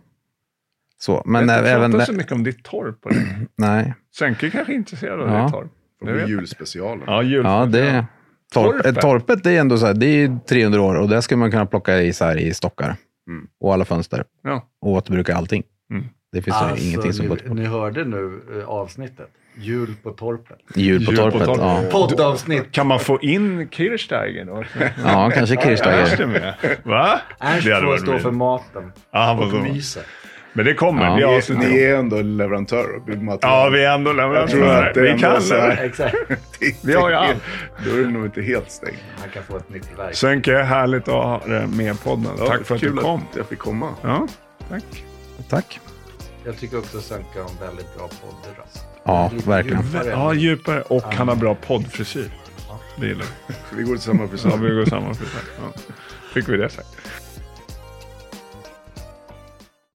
S6: Så, men
S2: jag
S6: ä-
S2: pratar
S6: även...
S2: så mycket om ditt torp. och det.
S6: Nej.
S2: Sänke kanske är intresserad av
S6: Ja.
S2: ditt torp.
S1: Det
S2: Jag
S1: blir
S2: vet.
S1: julspecialen.
S2: Ja, jul.
S6: Ja, det... Torp,
S2: Torpet.
S6: eh, torpet det är ändå så här, det är ju 300 år och där skulle man kunna plocka i, så här, i stockar
S1: Mm.
S6: och alla fönster
S2: Ja.
S6: och återbruka allting.
S2: Mm.
S6: Det finns ju ingenting som går
S3: Alltså, ni,
S6: tillbaka.
S3: ni hörde nu eh, avsnittet. Jul på torpet.
S6: Jul på
S2: Jul på
S6: torpet,
S2: torpet.
S6: ja.
S3: Poddavsnitt.
S2: Kan man få in Kirchsteiger då?
S6: Ja, kanske
S2: Ernst
S6: Kirchsteiger.
S2: är med. Va?
S3: Ernst
S2: Det hade
S3: får
S2: varit
S3: stå
S2: roligt.
S3: för maten
S2: Ja, han får
S3: och
S2: stå.
S3: myset.
S2: Men alltså, det kommer.
S6: Ja.
S2: Vi
S1: Ni
S2: har
S1: är,
S2: avsnitt
S1: ni
S2: om-
S1: är ändå leverantörer av byggmaterial.
S2: Ja, vi är ändå
S1: Jag tror
S2: leverantörer.
S1: att det
S2: Vi
S1: ändå
S2: kan
S1: så
S2: det.
S1: här-
S3: Exakt.
S2: vi har ju allt.
S1: Då är det nog inte helt stängt.
S3: Han kan få ett nytt verk.
S2: Sönke, härligt att ha dig med i podden.
S1: Ja,
S2: Tack för att
S1: kul
S2: du kom.
S1: jag fick komma.
S2: Ja, tack.
S6: Tack.
S3: Jag tycker också Sönke har en väldigt bra podd. Rast.
S6: Ja, verkligen.
S3: Djupare.
S2: Ja, djupare. Och han har bra poddfrisyr. Det gillar vi.
S1: Vi går till samma
S2: Ja,
S1: frisör.
S2: vi går samma frisör. Ja. Fick vi det sagt.